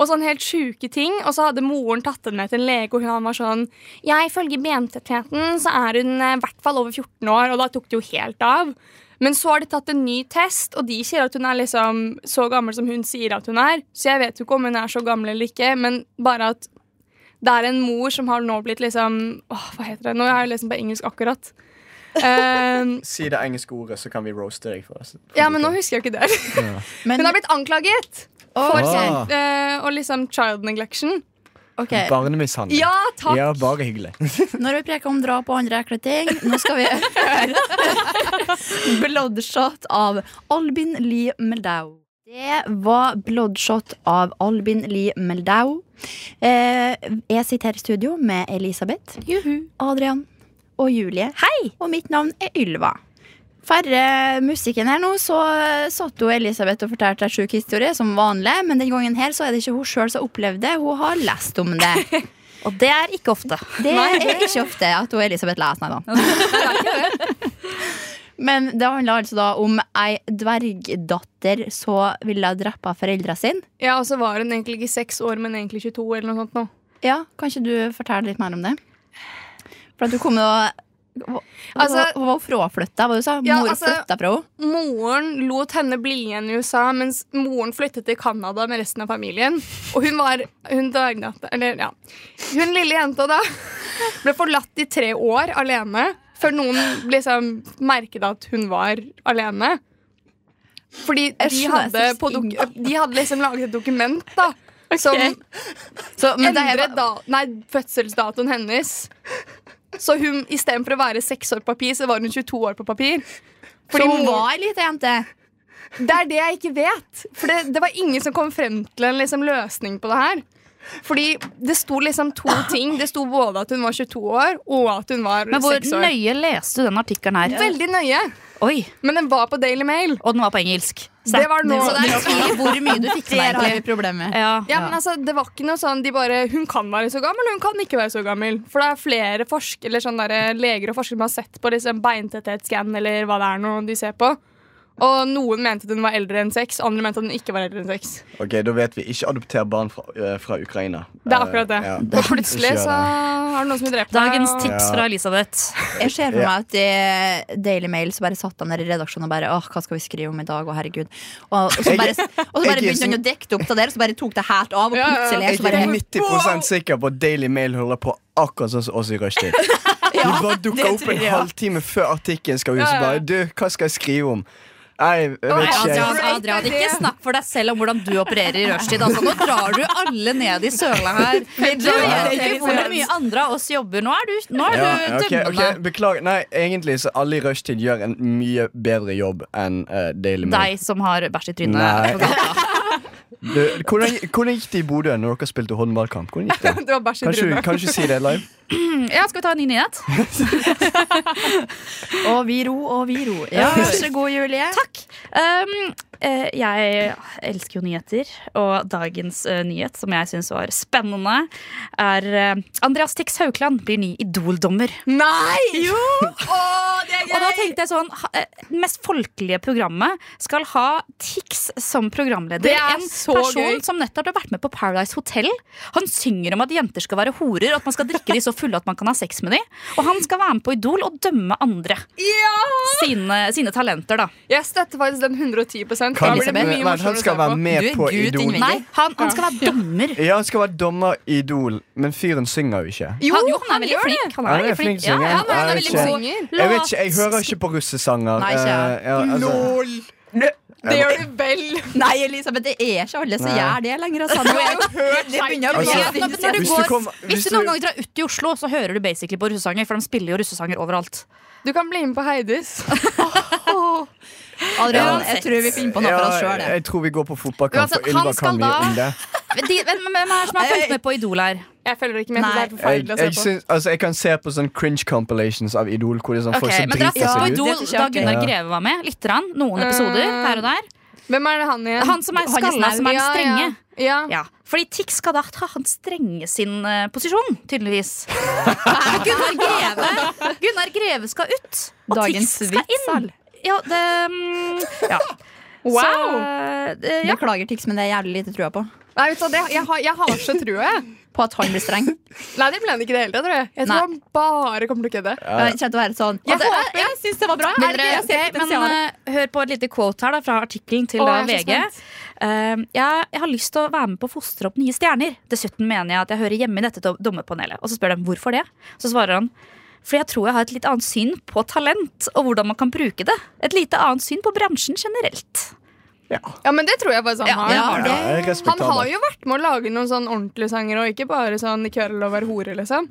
Og sånn helt sjuke ting. Og så hadde moren tatt henne med til en lege, og hun var sånn Ja, ifølge bentettheten så er hun eh, i hvert fall over 14 år, og da tok det jo helt av. Men så har de tatt en ny test, og de sier at hun er liksom så gammel som hun sier at hun er. Så jeg vet jo ikke om hun er så gammel eller ikke, men bare at det er en mor som har nå blitt liksom Åh, hva heter det? Nå er jeg liksom på engelsk akkurat. Eh,
Si det engelske ordet, så kan vi roaste deg. for oss.
ja, men nå husker jeg jo ikke det.
Men,
Hun har blitt anklaget
Å,
for
Ah.
eh, og liksom child neglection.
ok
Barnemishandling.
Ja, takk!
Ja, bare hyggelig.
Nå har vi preka om drap og andre ekle ting. Nå skal vi høre Bloodshot av Albin Lee Meldau. Det var Bloodshot av Albin Lee Meldau. Eh, jeg sitter her i studio med Elisabeth, Adrian og Julie. Hei! Og mitt navn er Ylva. Færre musikken her nå, så satt jo Elisabeth og fortalte en sjuk historie, som vanlig. Men den gangen her så er det ikke hun sjøl som opplevde det, hun har lest om det.
Og det er ikke ofte.
Det er ikke ofte at hun Elisabeth leser, nei da. Men det handler altså da om ei dvergdatter som ville drepe foreldra sine.
Ja, og så var hun egentlig ikke seks år, men egentlig 22 eller noe sånt nå.
Ja, kan ikke du fortelle litt mer om det? For at du kom med å altså,
Altså-
Hun var fraflytta, hva du sa?
Ja,
Mor
altså-
flytta fra henne?
Moren lot henne bli igjen i USA, mens moren flyttet til Canada med resten av familien. Og hun var Hun dagnatt... Eller, ja. Hun lille jenta, da, ble forlatt i tre år alene. Før noen liksom merket at hun var alene. Fordi de
skjønner,
hadde,
jeg synes
på dok
ingen-
de hadde liksom laget et dokument, da. Som
Så, men det
endret
er,
da, nei, fødselsdatoen hennes. Så hun, istedenfor å være seks år på papir, så var hun 22 år på papir.
fordi hun
mor-
var ei lita jente?
det er det jeg ikke vet. For det, det var ingen som kom frem til en liksom, løsning på det her. Fordi det sto liksom to ting. Det sto både at hun var 22 år, og at hun var
Men hvor
6 år.
nøye leste du den artikkelen her?
Veldig nøye.
Oi,
Men den var på Daily Mail.
Og den var på engelsk.
Det var nå.
Så det er tvil hvor mye du fikk med,
Der har vi
egentlig. Problemet.
Ja.
Ja, men altså, det var ikke noe sånn de bare Hun kan være så gammel, hun kan ikke være så gammel. For det er flere forsk eller sånn der, leger og forskere som har sett på liksom, beintetthetsskam eller hva det er noe de ser på. Og noen mente at hun var eldre enn seks, andre mente at hun ikke var eldre enn seks.
Ok, Da vet vi ikke adopter barn fra, øh, fra Ukraina.
Det er akkurat det.
Eh, ja.
Og plutselig
Ikke gjør
så
det.
har det noen som har drept
Dagens
deg.
tips
Ja.
fra Elisabeth.
Jeg ser for
Ja.
meg at i Daily Mail så bare satt han der i redaksjonen og bare Åh, hva skal vi skrive om i dag? Å, herregud. Og, og så bare, og så
jeg er
bare begynte han
så-
å dekke opp det der, og så bare tok det helt av. Og
Ja, ja, ja.
plutselig så
Jeg
bare
er 90 sikker på at Daily Mail holder på akkurat sånn som oss i rushtid. De bare dukker opp en halvtime før artikkelen skal ut. Så bare Du, hva skal jeg skrive om? Nei, jeg vet ikke.
altså, Adrian,
jeg.
Adrian, ikke snakk for deg selv om hvordan du opererer i rushtid. Altså, nå drar du alle ned i søla her. Du vet ikke hvor mye andre av oss jobber. Nå er du, nå er du
Ja, ok,
dømmende.
ok, Beklager. Nei, egentlig så alle i rushtid gjør en mye bedre jobb enn eh, Daily Mail.
Deg som har bæsj i trynet.
Nei.
på gata.
Du, hvordan, hvordan gikk det i Bodø når dere spilte håndballkamp? Hvordan gikk det?
Det var bæsj i
Kanskje,
trynet.
kanskje si det live?
Mm, Ja, skal vi ta en ny nyhet?
Og vi ro, og vi ro. Ja, vær så god, Julie.
Takk. Um, eh, jeg elsker jo nyheter, og dagens eh, nyhet, som jeg syns var spennende, er eh, Andreas Tix Haukeland blir ny Idol-dommer.
Nei! Jo! Åh, det er
Og da
gøy!
tenkte jeg sånn ha- eh, mest folkelige programmet skal ha Tix som programleder.
Det er
en
så
person
gøy.
som nettopp har vært med på Paradise Hotel. Han synger om at jenter skal være horer, og at man skal drikke de så fulle at man kan ha sex med de. Og han skal være med på Idol og dømme andre
Ja!
sine, sine talenter, da.
Jeg støtter faktisk den 110 Da
Kan,
blir det mye
men, han
morsommere å se
skal være
på.
med
Du er
på
Gud
Idol.
innvendig.
Nei, han, han skal være dommer.
Ja, han skal være dommer i Idol, men fyren synger jo ikke.
Jo,
han, jo, han er veldig
gjør
flink. Han
Han
er
er
veldig
flink
flink.
til å synge.
Ja, ja, men
Jeg
han er
vet
veldig
ikke.
god
Sanger.
Jeg vet ikke, jeg hører ikke på russesanger.
Nei, ikke jeg.
Eh, ja, altså.
Det gjør du vel.
Nei, Elisabeth, det er ikke alle som
Nei.
gjør det lenger. Altså. Nå er jeg- Det begynner å
Altså,
bli en stund
Når
siden.
du
Hvis du
går,
kom-
hvis
hvis
du noen
du-
ganger drar ut i Oslo, så hører du basically på russesanger, for de spiller jo russesanger overalt.
Du kan bli med på Heidis.
Adrian, jeg tror vi finner på noe for oss
Ja,
sjøl.
jeg tror vi går på fotballkamp,
Uansett,
for Ylva
han skal
kan mye
da-
om det.
Men de- men- men Hvem er det som har fulgt med på Idol her?
Jeg følger ikke med.
Nei.
for Det er
Jeg,
forferdelig
jeg,
å se på.
syns, altså, jeg kan se på sånn cringe compilations av Idol, hvor det er sånn folk
Ok,
som
men dere
driter
har sett
seg
på
ut.
Idol
det synes jeg
da
er
Gunnar
gøy.
Greve var med? Litt rann, noen episoder her og der.
Hvem er det han igjen?
Han som er
Han er
skalla,
snau.
som er den
Ja,
strenge.
Ja. ja.
Ja, Fordi Tix skal da ta han strenge sin eh, posisjon, tydeligvis. For Gunnar Greve Gunnar Greve skal ut, og
Dagens
Tix skal inn.
vitsal.
Ja, det, mm, ja.
Wow.
Så, eh, ja.
Beklager, Tix, men det er jævlig lite trua på.
Nei, vet du, hva, det, jeg, har, jeg har så trua, jeg.
På at han blir streng.
Nei, det ble han ikke i det hele tatt, tror jeg. Jeg tror
Nei.
han bare kommer til å kødde.
Jeg kjente å være sånn Jeg, jeg, jeg syns det var bra.
Men,
Herregud,
dere,
jeg ser
ok, men
potensialet.
eh, hør på et lite quote her da, fra artikkelen til
Å,
da,
jeg er så
VG. Eh, jeg, jeg har lyst til å være med på å fostre opp nye stjerner. Dessuten mener jeg at jeg hører hjemme i dette do- dommerpanelet. Og så spør de hvorfor det. Så svarer han fordi jeg tror jeg har et litt annet syn på talent og hvordan man kan bruke det. Et lite annet syn på bransjen generelt.
Ja, men det tror jeg faktisk han har.
ja,
Ja, jeg
Han
respekterer
har
det.
jo vært med å lage noen sånn ordentlige sanger, og ikke bare sånn 'I kveld å være hore', liksom.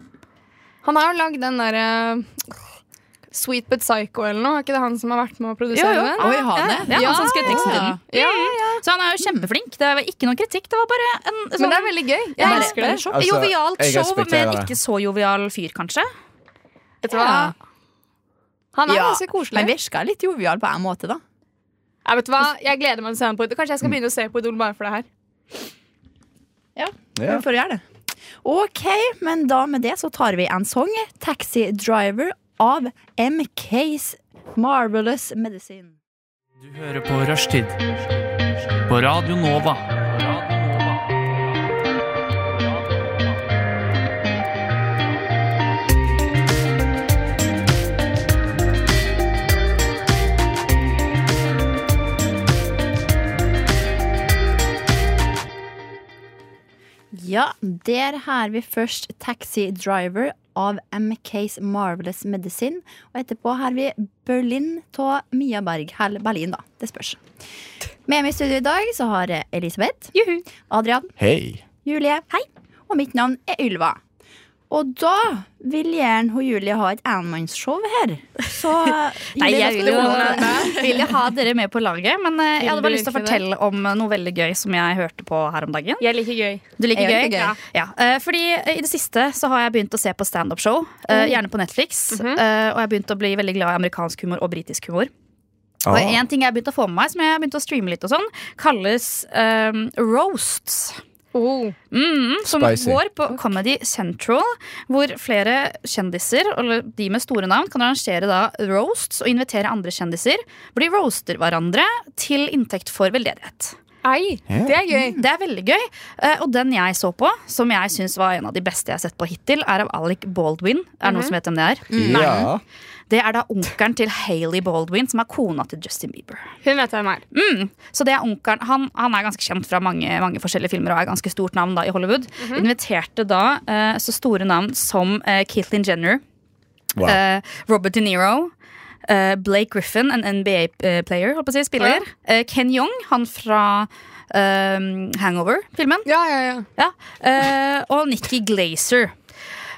Han har jo lagd den derre Sweet But Psycho eller noe. Er ikke det han som har vært med å produsere
Jo, jo.
den?
Oi, har han det?
Ja, han som skrev teksten til
Ja.
den. Så han er jo kjempeflink. Det var ikke noe kritikk. Det var bare en sånn,
Men det er veldig gøy. Jeg
Ja,
elsker det.
show.
Altså,
jovialt
jeg
show,
respekterer
men
det.
ikke så jovial fyr, kanskje.
Vet du hva? Han er
Ja,
ganske koselig.
Men virka litt jovial på en måte, da.
Jeg vet du hva, jeg gleder meg til å se ham på Idol. Kanskje jeg skal begynne å se på Idol bare for det her.
Ja.
Vi får gjøre det. OK, men da med det så tar vi en sang. 'Taxi Driver' av MKs Marvelous Medicine.
Du hører på Rushtid på Radio Nova.
Ja, der har vi først 'Taxi Driver' av MKs Marvelous Medicine. Og etterpå har vi 'Berlin' av Mia Berg. Hell Berlin, da. Det spørs. Med meg i studio i dag så har jeg Elisabeth, Adrian,
Hei.
Julie. Hei. Og mitt navn er Ylva. Og da vil gjerne hun Julie ha et enmannsshow her. Så eh,
Nei,
Julie, hva
jeg
skal
vil
du
jo
holde med?
vil jeg ha dere med på laget, men eh, jeg hadde
Vil
bare
du
lyst til å
virkelig
fortelle om eh, noe veldig gøy som jeg hørte på her om dagen.
Jeg liker gøy.
Du liker
Jeg
gøy?
liker gøy.
Ja. Ja. eh, Fordi eh, i det siste så har jeg begynt å se på standup-show, eh, gjerne på Netflix. eh, Og jeg har begynt å bli veldig glad i amerikansk humor og britisk humor. Og
Ah.
en ting jeg har begynt å få med meg, som jeg har begynt å streame litt og sånn, kalles eh, roasts. Mm, som
Spicy.
går på Comedy Central, hvor flere kjendiser, eller de med store navn, kan arrangere da roasts og invitere andre kjendiser. Hvor de roaster hverandre til inntekt for veldedighet.
Ei, det er gøy.
Mm.
Det er veldig gøy. Eh, Og den jeg så på, som jeg syns var en av de beste jeg har sett på hittil, er av Alec Baldwin. Er det noen som vet hvem det er?
Mm. Ja.
Det er da onkelen til Hailey Baldwin, som er kona til Justin Bieber.
Hun vet hvem jeg er.
Mm. Så det er onkelen, han, han er ganske kjent fra mange, mange forskjellige filmer og er ganske stort navn da i Hollywood. Inviterte da eh, så store navn som eh, Caitlyn Jenner,
Wow.
eh, Robert De Niro, eh, Blake Griffin, en NBA-player, holdt på å si, spiller. Eh, Ken Young, han fra eh, Hangover-filmen.
Ja, ja, ja.
Ja. Eh, og Nikki Glazer.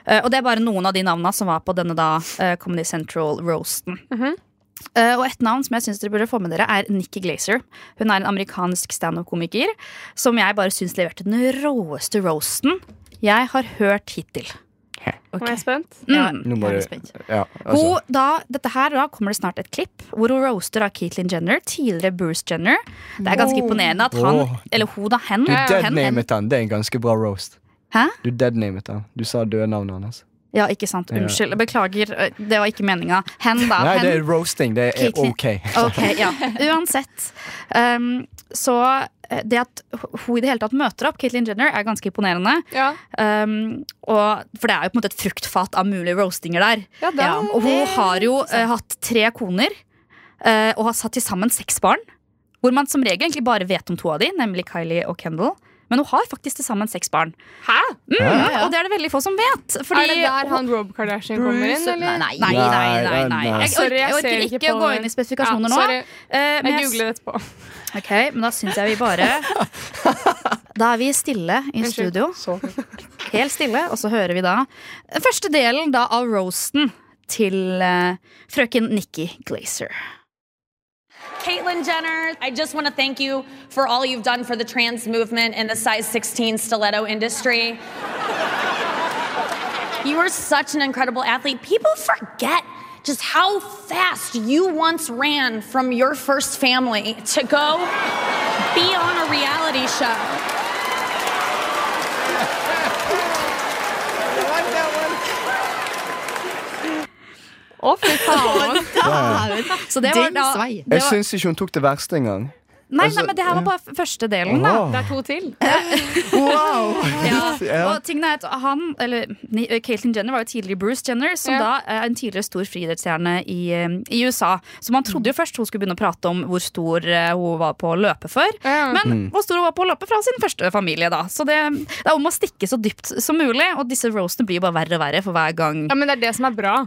Eh, og det er bare noen av de navna som var på denne da eh, Comedy Central Roasten.
Mhm.
Eh, og et navn som jeg synes dere burde få med dere, er Nikki Glazer. Hun er en amerikansk standup-komiker som jeg bare syns leverte den råeste roasten jeg har hørt hittil.
Nå er jeg spent.
Ja,
Mm.
Nå må
jeg er
du-
spent.
Ja, altså.
Hun, da, dette her, da kommer det snart et klipp hvor hun roaster av Caitlyn Jenner, tidligere Bruce Jenner. Det er ganske imponerende at han,
Åh.
eller hun da, hen,
Du
hen,
deadnamet han. Det er en ganske bra roast.
Hæ?
Du deadnamet han. Du sa døde navnet hans.
Ja, ikke sant.
Ja.
Unnskyld. Beklager, Eh, det var ikke meninga. Hen, da.
Nei,
hen.
det er roasting. Det er
Caitlyn-
OK.
Ok, ja. Uansett. Um, så eh, det at hun i det hele tatt møter opp Caitlyn Jenner, er ganske imponerende.
Ja.
Um, og, for det er jo på en måte et fruktfat av mulige roastinger der.
Ja, da,
Ja, og hun har jo eh, hatt tre koner eh, og har satt til sammen seks barn. Hvor man som regel egentlig bare vet om to av de, nemlig Kylie og Kendall. Men hun har faktisk til sammen seks barn.
Hæ?
Mm,
Ja,
Og det er det veldig få som vet. Fordi
Er det der han Rob Kardashian kommer inn,
Bruce-
eller?
Nei, nei.
Nei, nei, nei. nei. Jeg, orker,
Sorry, jeg
jeg
ser
orker
ikke
ikke å
på
gå
den.
inn i
Ja,
spesifikasjoner nå.
sorry.
eh, men
Jeg
jeg-
googler etterpå.
Ok, men da syns jeg vi bare Da er vi stille i studio. Helt stille, og så hører vi da den første delen da av roasten til eh, frøken Nikki Glazer.
Caitlyn Jenner, I just want to thank you for all you've done for the trans movement and the size 16 stiletto industry. You are such an incredible athlete. People forget just how fast you once ran from your first family to go be on a reality show.
Å, fy faen.
Så det var
Den
da
svei.
det
Jeg
var,
syns ikke hun tok det verste engang.
nei, nei, men det her var bare f- første delen, da.
Åh.
Det er to til.
Wow!
Ja. Og tingen er at han, eller Ni- eh, Caitlyn Jenner var jo tidligere Bruce Jenner, som
Ja.
da er en tidligere stor friidrettsstjerne i, eh, i USA. Så man
Mm.
trodde jo først hun skulle begynne å prate om hvor stor eh, hun var på å løpe for.
Ja.
Men hvor stor hun var på å løpe fra sin første familie, da. Så det, det er om å stikke så dypt som mulig, og disse roastene blir jo bare verre og verre for hver gang.
Ja, men det er det som er bra.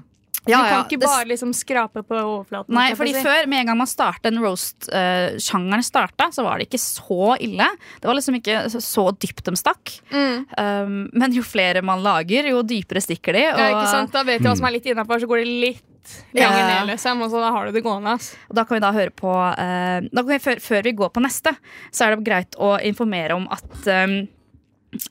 Ja,
du
ja,
kan ikke
det s-
bare liksom skrape på overflaten.
Nei,
kan
fordi
jeg si.
før, med en gang man startet den roast-sjangeren starta, så var det ikke så ille. Det var liksom ikke så dypt de stakk.
Mm.
Um, men jo flere man lager, jo dypere stikker de. Og,
ja, ikke sant? Da vet du hva
Mm.
som er litt innafor, så går det litt lenger
Ja.
ned, liksom. Og så da har du det gående. Ass.
og da kan vi da høre på eh, da kan vi, før, før vi går på neste, så er det greit å informere om at um,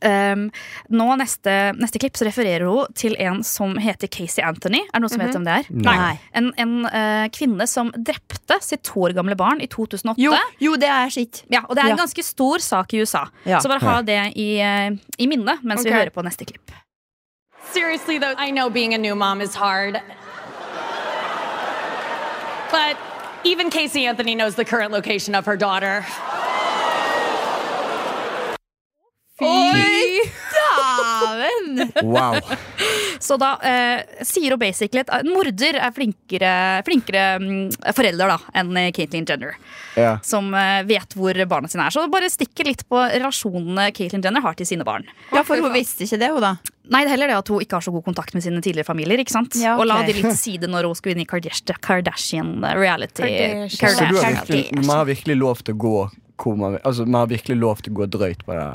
um, nå neste, neste klipp så refererer hun til en som heter Casey Anthony. Er det noen som vet hvem det er?
Mhm. Nei.
En, en eh, kvinne som drepte sitt to år gamle barn i 2008.
Jo, jo, det er sitt.
Ja, og det er en
Ja.
ganske stor sak i USA.
Ja.
Så bare ha det i, eh, i minnet mens vi
Ok.
hører på neste klipp.
Seriously, though, I know being a new mom is hard. But even Casey Anthony knows the current location of her daughter.
Oi, dæven!
Wow.
Så da eh, sier hun basically at en morder er flinkere, flinkere mm, forelder da, enn eh, Caitlyn Jenner,
Ja.
som eh, vet hvor barna sine er. Så bare stikker litt på relasjonene Caitlyn Jenner har til sine barn.
Ja, for hun visste ikke det, hun, da.
Nei, det er heller det at hun ikke har så god kontakt med sine tidligere familier. ikke sant?
Ja, ok.
Og la de litt til side når hun skulle inn i Kardashian, Kardashian reality.
Kardashian.
Så du har
Kardashian.
virkelig, vi har virkelig lov til å gå hvor man, altså, man har virkelig lov til å gå drøyt på det,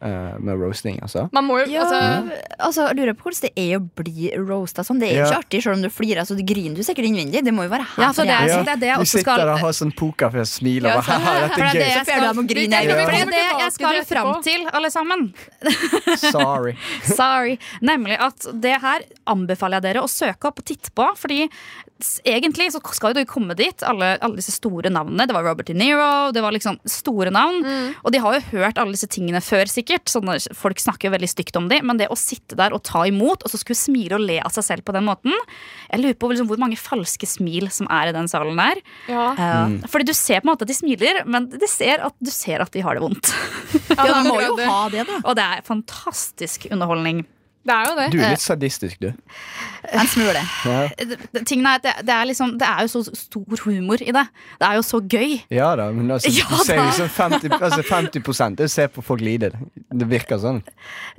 eh, med roasting, altså?
Man må jo
Ja,
altså,
altså, jeg lurer på hvordan det er å bli roasta sånn. Det er jo
Ja.
ikke artig, selv om du flirer. Altså, du griner du sikkert innvendig. Det må jo være her.
Ja, for det er-
Ja,
det er det jeg
du
også
sitter
skal- sånn,
der og har sånn pokerfjes, smiler og
Ja,
bare haha,
For
dette
det er det
er
jeg
Så ber du om å
skal,
grine
Det er
igjen.
det jeg skal
tilbake til
fram
etterpå.
til, alle sammen.
gøy. Sorry.
Sorry. Nemlig at det her anbefaler jeg dere å søke opp og titte på. Fordi s- egentlig så skal jo du komme dit, alle, alle disse store navnene. Det var Robert De Niro, det var liksom store navn.
Mm.
Og de har jo hørt alle disse tingene før, sikkert. Sånne, folk snakker jo veldig stygt om de, men det å sitte der og ta imot, og så skulle smile og le av seg selv på den måten Jeg lurer på liksom hvor mange falske smil som er i den salen der.
ja.
Eh, Fordi du ser på en måte at de smiler, men de ser at, du ser at de har det vondt.
Ja,
det
du
er
må jo
akkurat det.
ha det, da.
Og det er fantastisk underholdning.
Det er jo det.
Du er litt sadistisk, du.
En smule.
Ja,
det, det- tingen er at det, det, er liksom, det er jo så stor humor i det. Det er jo så gøy.
ja da, men altså,
Ja
du ser jo
da.
sånn 50, altså 50 Du ser på folk lide. Det virker sånn.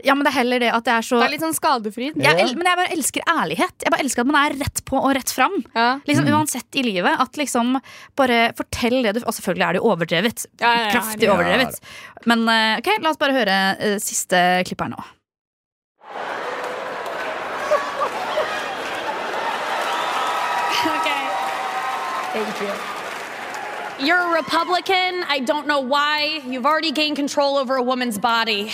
Ja, men det er heller det at det er så
Det er litt sånn skadefri.
jeg, el- Men jeg bare elsker ærlighet. Jeg bare elsker at man er rett på og rett fram.
Ja.
Liksom Uansett i livet. At liksom Bare fortell det du Og selvfølgelig er det jo overdrevet.
Ja, ja, ja,
Kraftig
herregud.
overdrevet. Men eh, ok, la oss bare høre eh, siste klipp her nå.
Okay. Thank you. You're a Republican. I don't know why. You've already gained control over a woman's body.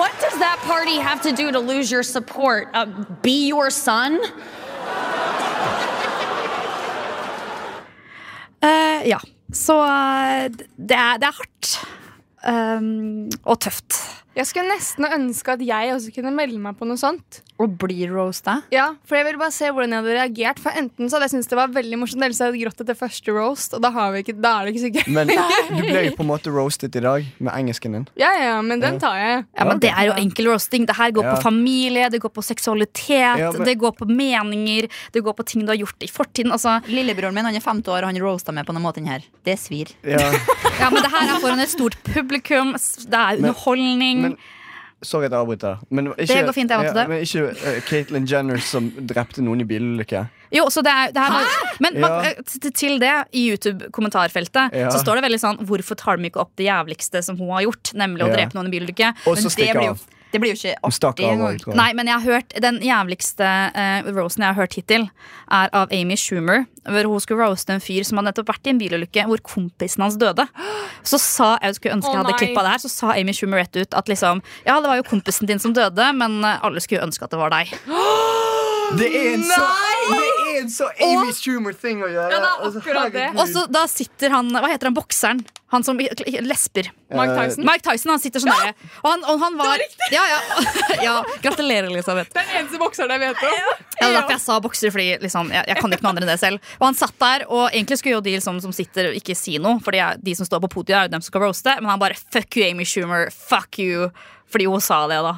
What does that party have to do to lose your support? Uh, be your son?
Eh, ja. Så eh, det er, det er hardt. Um, og tøft.
Jeg skulle nesten ønske at jeg også kunne melde meg på noe sånt.
Å bli roasta.
Ja, for jeg ville bare se hvordan jeg hadde reagert. For enten så hadde jeg syntes det var veldig morsomt, eller så hadde jeg grått etter første roast, og da, har vi ikke, da er det ikke så gøy.
Men du ble jo på en måte roasted i dag med engelsken din.
Ja, ja, men den tar jeg.
Ja, men Det er jo enkel roasting. Det her går
Ja.
på familie, det går på seksualitet,
Ja, men-
det går på meninger, det går på ting du har gjort i fortiden. Altså,
Lillebroren min han er 50 år, og han roasta meg på noen måte den her. Det svir.
Ja,
ja, men Det her er foran et stort publikum, s- det er underholdning.
men Sorry at jeg avbryter. Men ikke,
Det går fint, jeg vant det.
ja, men ikke eh, Caitlyn Jenner som drepte noen i bilulykke.
jo, så det er, det her var, men
Ja.
man- til- til det, i YouTube-kommentarfeltet,
Ja.
så står det veldig sånn Hvorfor tar de ikke opp det jævligste som hun har gjort, nemlig å
Ja.
drepe noen i bilulykke?
Og så
Men det
stikker
blir jo,
av.
det blir jo ikke
Hun stakk
artig
av
engang.
òg, tror jeg.
Nei, men jeg har hørt den jævligste eh, roasten jeg har hørt hittil, er av Amy Schumer. Hvor hun skulle roaste en fyr som hadde nettopp vært i en bilulykke hvor kompisen hans døde. Så sa jeg skulle ønske jeg
Å,
hadde
nei.
klippa det her, så sa Amy Schumer rett ut at liksom Ja, det var jo kompisen din som døde, men eh, alle skulle ønske at det var deg.
Det er en så, det er en så Amy Schumer-ting å gjøre. Altså,
Ja, det er akkurat det.
Og så da sitter han Hva heter han bokseren? Han som lesper.
Mike
Eh,
Tyson.
Mike Tyson, han sitter sånn der. Og han, og han var Ja, ja. ja gratulerer, Elisabeth.
Den eneste bokseren jeg vet om.
Ja, det er derfor jeg sa bokser, fordi liksom, jeg, jeg kan ikke noe annet enn det selv. Og han satt der, og egentlig skulle jo de liksom, som sitter og ikke si noe, for de som står på podiet, er jo dem som skal roaste, men han bare fuck you, Amy Schumer, fuck you. Fordi hun sa det, da.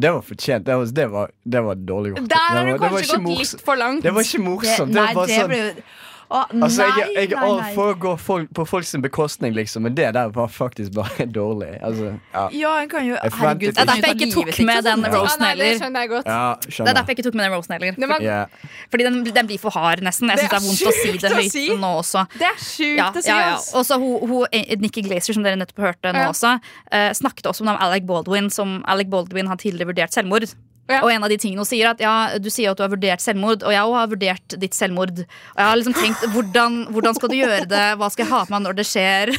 Det var fortjent. Det var, det var, det var dårlig gjort.
Der har
det
du
var, det var
kanskje
ikke
gått
morsomt.
litt for langt.
Altså, Det var ikke
Det,
morsomt. Det,
nei,
var
det
sånn,
blir jo Å, nei,
Altså, jeg, jeg,
nei,
å,
nei.
For å gå folk, på folks bekostning, liksom. Men det der var faktisk bare dårlig. Altså, ja.
Ja, en kan jo
Jeg forventet
Herregud,
ikke- Det er
derfor jeg ikke tok med den
Ja.
rosen
nei, det
heller.
skjønner jeg godt.
ja,
Det er
skjønner.
derfor jeg ikke tok med den rosen heller.
Når man,
Ja.
Fordi den, den blir for hard, nesten. Jeg
Det
synes det er
er
vondt å si
sjukt
det
å
høyt
si.
nå også.
Det er sjukt
Ja,
å si,
ja, ja.
ass.
Også hun, hun, Nikki Glaser, som dere nettopp hørte nå
Ja.
også, eh, snakket også om Alec Baldwin, som Alec Baldwin har tidligere vurdert selvmord.
Ja.
Og en av de tingene hun sier er at ja, du sier at du har vurdert selvmord, og jeg også har vurdert ditt selvmord. Og jeg har liksom tenkt, hvordan, hvordan skal du gjøre det, hva skal jeg ha på meg når det skjer?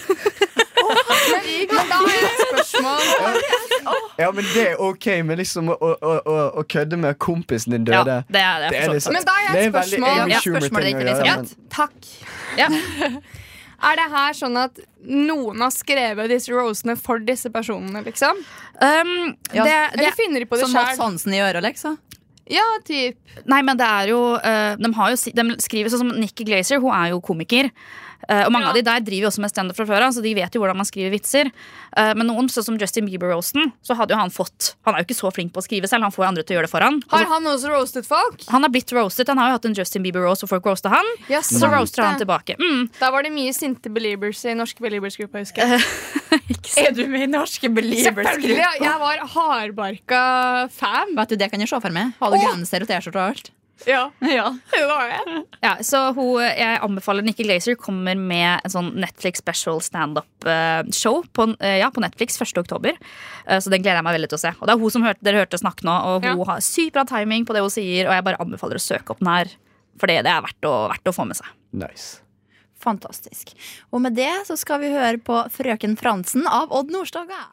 Men da har jeg et spørsmål.
ja, men det er ok, men liksom å, å, å, å kødde med at kompisen din
Ja,
døde
det er det.
Det
er
er
for så vidt.
liksom
Men da har jeg et
det er veldig
spørsmål.
Amy
Ja,
Schumer
spørsmålet
ting
er
å
ikke
gjøre,
relevant.
men-
Takk.
Ja.
Er det her sånn at noen har skrevet disse rosene for disse personene, liksom?
Um,
Ja,
det, det,
Eller finner de på det
Sånn Mads
sjøl?
Hansen i øret, liksom.
Ja, typ.
Nei, men det er jo, eh, de, har jo si- de skriver sånn som Nikki Glaser, hun er jo komiker. Eh, og mange av de der driver jo også med standup fra før av, så de vet jo hvordan man skriver vitser. Eh, men noen, sånn som Justin Bieber-roasten, så hadde jo han fått Han er jo ikke så flink på å skrive selv, han får jo andre til å gjøre det for han.
Har
Altså,
han også roastet folk?
han har blitt roastet, han har jo hatt en Justin Bieber-roast, og folk roasta han.
Ja,
Og så
sant
roaster han
det.
tilbake. Mm.
Da var det mye sinte beliebers i norske beliebers-gruppa, husker jeg.
Er du med i norske
Selvfølgelig,
believers-gruppa?
ja. Jeg var hardbarka fan.
Vet du, Det kan jeg se for meg. Hadde genser og T-skjorte og alt.
Ja, det var jeg.
Ja, så hun, jeg anbefaler Nikki Glaser kommer med en sånn Netflix special standup-show på, eh, ja, på Netflix 1. oktober. Eh, Så den gleder jeg meg veldig til å se. Og det er hun som hørte, dere hørte snakke nå, og hun
Ja.
har sykt bra timing på det hun sier, og jeg bare anbefaler å søke opp den her. For det det er verdt å, verdt å få med seg.
Nice.
Fantastisk. Og med det så skal vi høre på Frøken Fransen av Odd Nordstoga.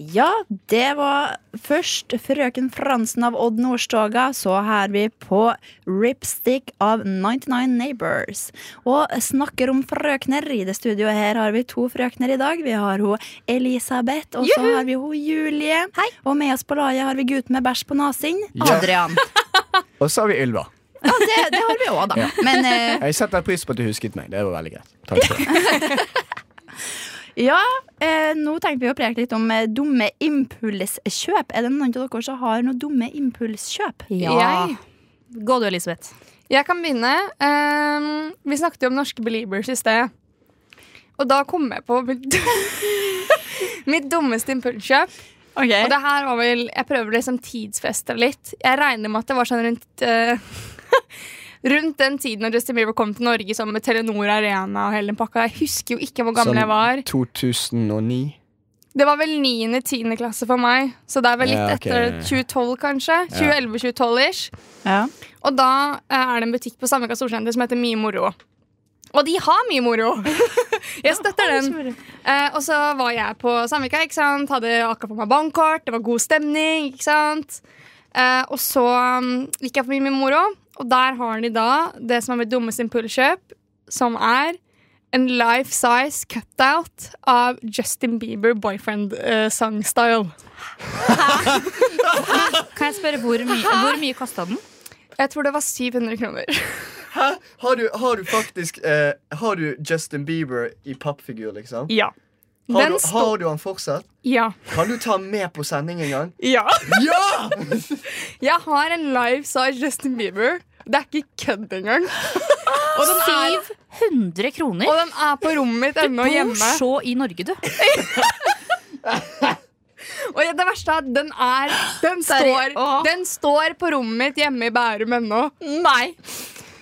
Ja, det var først Frøken Fransen av Odd Nordstoga. Så her vi på Ripstick av 99 Neighbors. Og snakker om frøkner. I det studioet her har vi to frøkner i dag. Vi har hun Elisabeth, og så har vi hun Julie. Og med oss på laget har vi gutten med bæsj på nesen,
Ja.
Adrian.
Og så har vi Ylva.
Ja, det, det har vi òg, da. Men eh,
Jeg setter pris på at du husket meg. Det var veldig greit. Takk for det.
Ja, eh, nå tenkte vi å preke litt om eh, dumme impulskjøp. Er det noen av dere som har noen dumme impulskjøp?
Jeg,
Gå du, Elisabeth.
jeg kan begynne. Ehm, vi snakket jo om norske beliebers i sted. Og da kom jeg på mitt, mitt dummeste impulskjøp. Og det her var vel Jeg prøver liksom tidsfeste litt. Jeg regner med at det var sånn rundt eh, Rundt den tiden når Justin Bieber kom til Norge sånn med Telenor Arena og hele den pakka. Jeg husker jo ikke hvor gammel
Sånn
jeg var.
2009.
Det var vel 9.-10. klasse for meg, så det er vel litt
Ja, ok.
etter 2012, kanskje. 2011-2012-ish.
Ja.
Og da eh, er det en butikk på Sandvika Storsenter som heter Mye Moro. Og de har mye moro! Jeg støtter den. Eh, og så var jeg på Sandvika, ikke sant? hadde akkurat på meg bankkort, det var god stemning. ikke sant? Eh, og så mm, gikk jeg forbi Mye Moro, og der har de da det som er mitt dummeste impulskjøp, som er en life size cutout av Justin Bieber boyfriend-sangstyle.
Kan jeg spørre hvor, my hvor mye kosta den?
jeg tror det var 700 kroner.
Hæ? Har du, har du faktisk eh, Har du Justin Bieber i pappfigur, liksom?
Ja.
Har,
Den
du,
sto-
har du han fortsatt?
Ja.
Kan du ta han med på sending en gang?
ja.
Ja!
Jeg har en life size Justin Bieber. Det er ikke kødd engang. Og den er,
100 kroner?
og den er på rommet mitt ennå
Bor
hjemme.
så i Norge, du.
Og det verste er at den er Den står, den står på rommet mitt hjemme i Bærum ennå. Nei.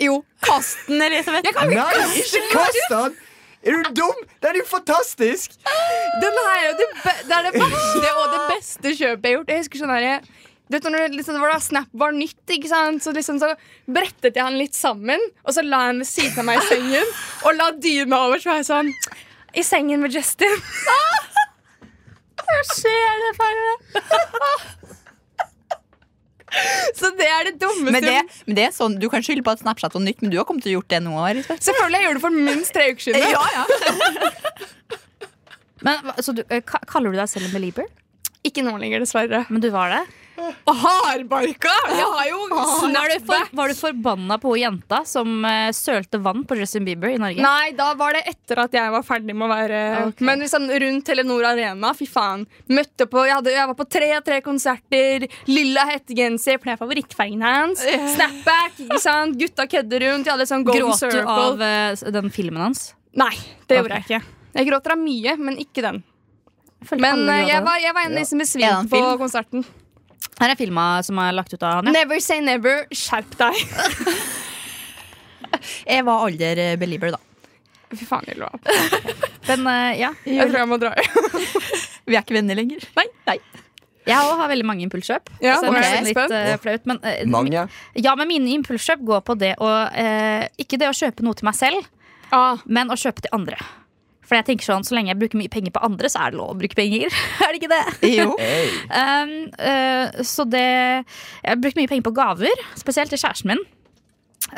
Jo. Kast den, Elisabeth. Jeg kan ikke
Nei, ikke kast han! Er du dum? Den er jo fantastisk!
Den her er jo det, be det, er det verste og det beste kjøpet jeg har gjort. Jeg husker sånn her du vet, når det- liksom, det var da Snap var nytt, ikke sant? Så, liksom, så brettet jeg han litt sammen, og så la jeg han ved siden av meg i sengen. Og la dyna over, så var jeg sånn I sengen med Justin. Hva skjer det for Så det er det dummeste
Men det, men det er sånn, Du kan skylde på at Snapchat var nytt, men du har kommet til å gjort det nå. Elisabeth.
Selvfølgelig jeg gjorde det for minst tre uker siden.
Men, hva- så du, eh, ka- kaller du deg selv en belieber?
Ikke nå lenger, dessverre.
Men du var det?
Hardbarka! Jeg har jo
Var du, for,
snapback.
var du forbanna på hun jenta som eh, sølte vann på Justin Bieber i Norge?
Nei, da var det etter at jeg var ferdig med å være
Ok.
Men liksom rundt Telenor Arena, fy faen. Møtte på, jeg, hadde, jeg var på tre tre konserter. Lilla hettegenser, for det er favorittfargen hans. Snapback, ikke sant. Gutta kødder rundt. Jeg hadde sånn golden
Gråt du
circle.
av eh, den filmen hans?
Nei, det gjorde
Ok.
jeg ikke. Jeg gråter av mye, men ikke den. Men
alle
eh,
gjør
jeg
det.
var, jeg var en av de som
Er det en
besvimte på
film?
konserten.
Her er filma som er lagt ut av han. Ja.
Never say never. Skjerp deg.
Jeg var alder eh, belieber, da.
Fy faen, Ylva.
Den, eh, ja.
Jeg tror jeg må dra.
Vi er ikke venner lenger. Nei, nei.
Jeg også har veldig mange impulskjøp.
Ja,
så det
ok.
er nesten litt
Spent.
eh, flaut. Men, eh,
Mange.
ja, men mine impulskjøp går på det å eh, Ikke det å kjøpe noe til meg selv,
Ah,
men å kjøpe til andre. For jeg tenker sånn, Så lenge jeg bruker mye penger på andre, så er det lov å bruke penger. er det ikke det?
Jo.
Hey.
Um, eh, så det Jeg har brukt mye penger på gaver, spesielt til kjæresten min.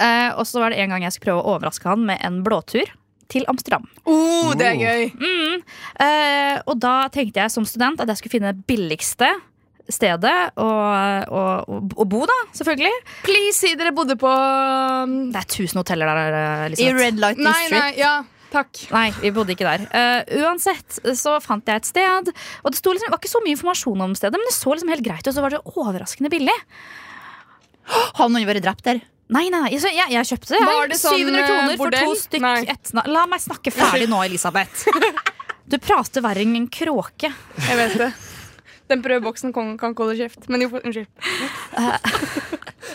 Eh, og så var det en gang jeg skulle prøve å overraske han med en blåtur til Amsterdam.
oh, det er gøy.
Eh, og da tenkte jeg som student at jeg skulle finne det billigste stedet å, å, å, å bo, da, selvfølgelig.
Please si dere bodde på um,
Det er tusen hoteller der. eh,
I
Elisabeth.
Red Light
Nei,
District.
nei, ja. Takk.
Nei, vi bodde ikke der. Eh, uansett så fant jeg et sted. Og det, sto liksom, det var ikke så mye informasjon om stedet, men det så liksom helt greit ut. Og så var det overraskende billig.
Har noen vært drept der?
Nei, nei, nei. Jeg, jeg, jeg kjøpte det.
Var det sånn,
700
eh,
kroner for
bordell?
to stykk
Nei.
etna... La meg snakke ferdig nå, Elisabeth. Du prater verre enn en kråke.
Jeg vet det. Den prøveboksen kan, kan ikke holde kjeft. Men jo, unnskyld.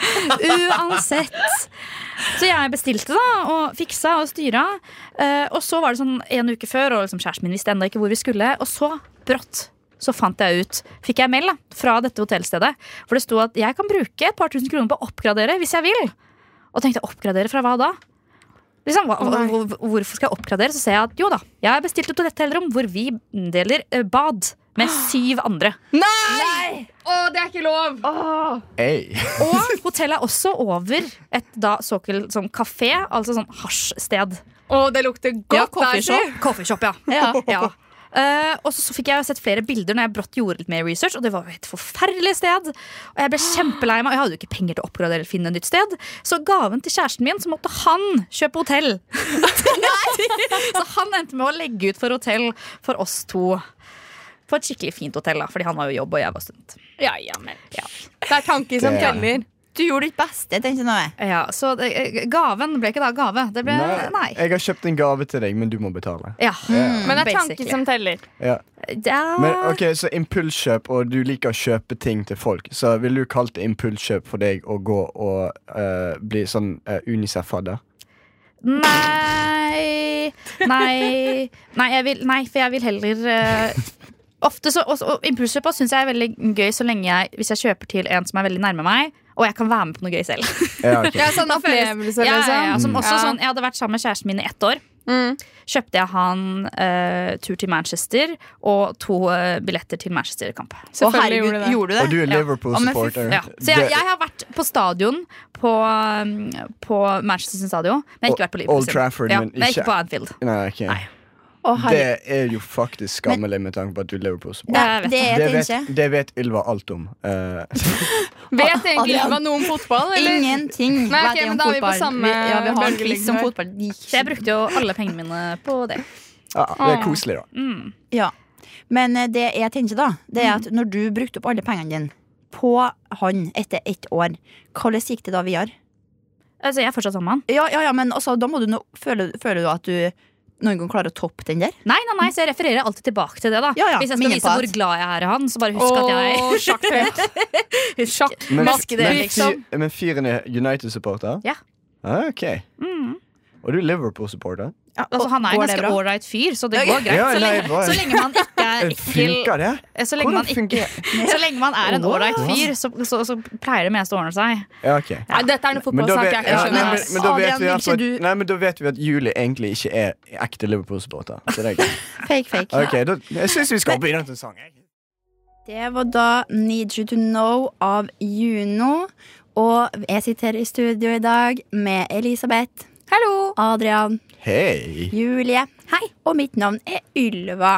Uansett. Så jeg bestilte da, og fiksa og styra. Eh, og så var det sånn en uke før, og liksom kjæresten min visste ennå ikke hvor vi skulle. Og så brått så fant jeg ut, fikk jeg mail da, fra dette hotellstedet. For det sto at jeg kan bruke et par tusen kroner på å oppgradere hvis jeg vil. Og tenkte oppgradere fra hva da? Liksom, hva, hva, hvor- hvorfor skal jeg oppgradere? Så ser jeg at jo da, jeg har bestilt et hotellrom hvor vi deler eh, bad med syv andre.
Å, det er ikke lov!
Hey.
Og hotellet er også over et da såkalt sånn kafé, altså sånn hasjsted.
Å, det lukter godt der, si.
Coffeeshop, ja.
Ja.
ja. Eh, og så, så fikk jeg sett flere bilder når jeg brått gjorde litt mer research, og det var jo et forferdelig sted. Og jeg ble kjempelei meg, og jeg hadde jo ikke penger til å oppgradere eller finne et nytt sted. Så gaven til kjæresten min, så måtte han kjøpe hotell. så han endte med å legge ut for hotell for oss to. På et skikkelig fint hotell, da, fordi han har jo jobb, og jeg var student.
Ja, ja, men. Det er tanker som
Det er-
teller.
Du gjorde ditt beste, tenkte nå jeg.
Ja, så det, eh, gaven ble ikke da gave. Det ble
Nei,
nei.
Jeg har kjøpt en gave til deg, men du må betale.
Ja,
Men det er
basically.
tanker som teller.
Ja.
Ja.
Men ok, Så impulskjøp, og du liker å kjøpe ting til folk. Så ville du kalt det impulskjøp for deg å gå og eh, bli sånn eh, Unicef-fadder?
Nei Nei, nei, jeg vil, nei for jeg vil heller eh, Ofte så og, og Impulskjøpa syns jeg er veldig gøy så lenge jeg, hvis jeg kjøper til en som er veldig nærme meg, og jeg kan være med på noe gøy selv.
Ja, ok.
Ja, sånn
Ja,
opplevelse,
ja, ja,
liksom.
som også
Ja.
sånn, jeg hadde vært sammen med kjæresten min i ett år.
Mm.
Kjøpte jeg han eh, tur til Manchester og to eh, billetter til Manchester-kamp.
Å,
Selvfølgelig
herregud,
gjorde du det.
gjorde du det?
Og du er
Ja.
Liverpool-supporter.
Ja. Så jeg,
Det-
jeg har vært på stadion på, um, på Manchester sin stadion, men jeg har ikke
Og-
vært på Liverpool
Old
sin.
Trafford,
ja,
men
ikke
ikke-
på Anfield.
Nei, ok.
Nei.
Å, herregud.
Det er jo faktisk skammelig med tanke på at du er Liverpool-supporter.
Ja, jeg vet
Det er
Det
jeg
vet,
ikke.
det vet Ylva alt om. Eh,
Vet egentlig
Adrian.
Ylva noe om fotball? Eller?
Ingenting.
Nei, ok,
vet jeg om
men da er vi på
fotball.
samme
Vi- ja, vi har en
bølgelengde
quiz om
her.
fotball.
Så jeg brukte jo alle pengene mine på det.
ja, det er koselig, da.
Ja. Men eh, det jeg tenker da, det er at når du brukte opp alle pengene dine på han etter ett år, hvordan gikk det da videre?
Altså, jeg er fortsatt sammen med han.
Ja, ja, ja, men altså, da må du nå føler, føler du at du noen gang klarer å toppe den der?
Nei, nei, nei, så jeg refererer alltid tilbake til det. da
Ja, ja,
Hvis jeg skal
minne
vise
på
hvor
at-
glad jeg er i han, så bare husk at jeg
Å, sjakktrekk. Sjakk.
Men,
Maske det,
men,
liksom.
fyr- men fyren er United-supporter?
Ja. Mm.
Ah, ok. Og du er Liverpool-supporter?
Altså, Han er en
Går det
ganske
bra?
ålreit fyr, så det går greit.
Ja,
så,
nei,
lenge,
bare-
så lenge man ikke er ekkel
Funker det?
så lenge, man
Hvordan
ikke,
funker det?
så lenge man er en
Wow.
ålreit fyr, så, så, så pleier det meste å ordne seg.
Ja, ok.
Nei, dette er noe
Men da,
fotballsak
vet,
jeg
ja,
ikke
nei,
skjønner.
men, men da vet
Adrian,
vi
vil
at,
ikke du-
nei, men da vet vi at Julie egentlig ikke er ekte Liverpool-supporter. Så det er greit.
Fake, fake.
Ok, da, Jeg syns vi skal begynne til en sang. jeg.
Det var da Need You To Know av Juno. Og jeg sitter i studio i dag med Elisabeth, Hallo Adrian,
Hei!
Julie Hei og mitt navn er Ylva.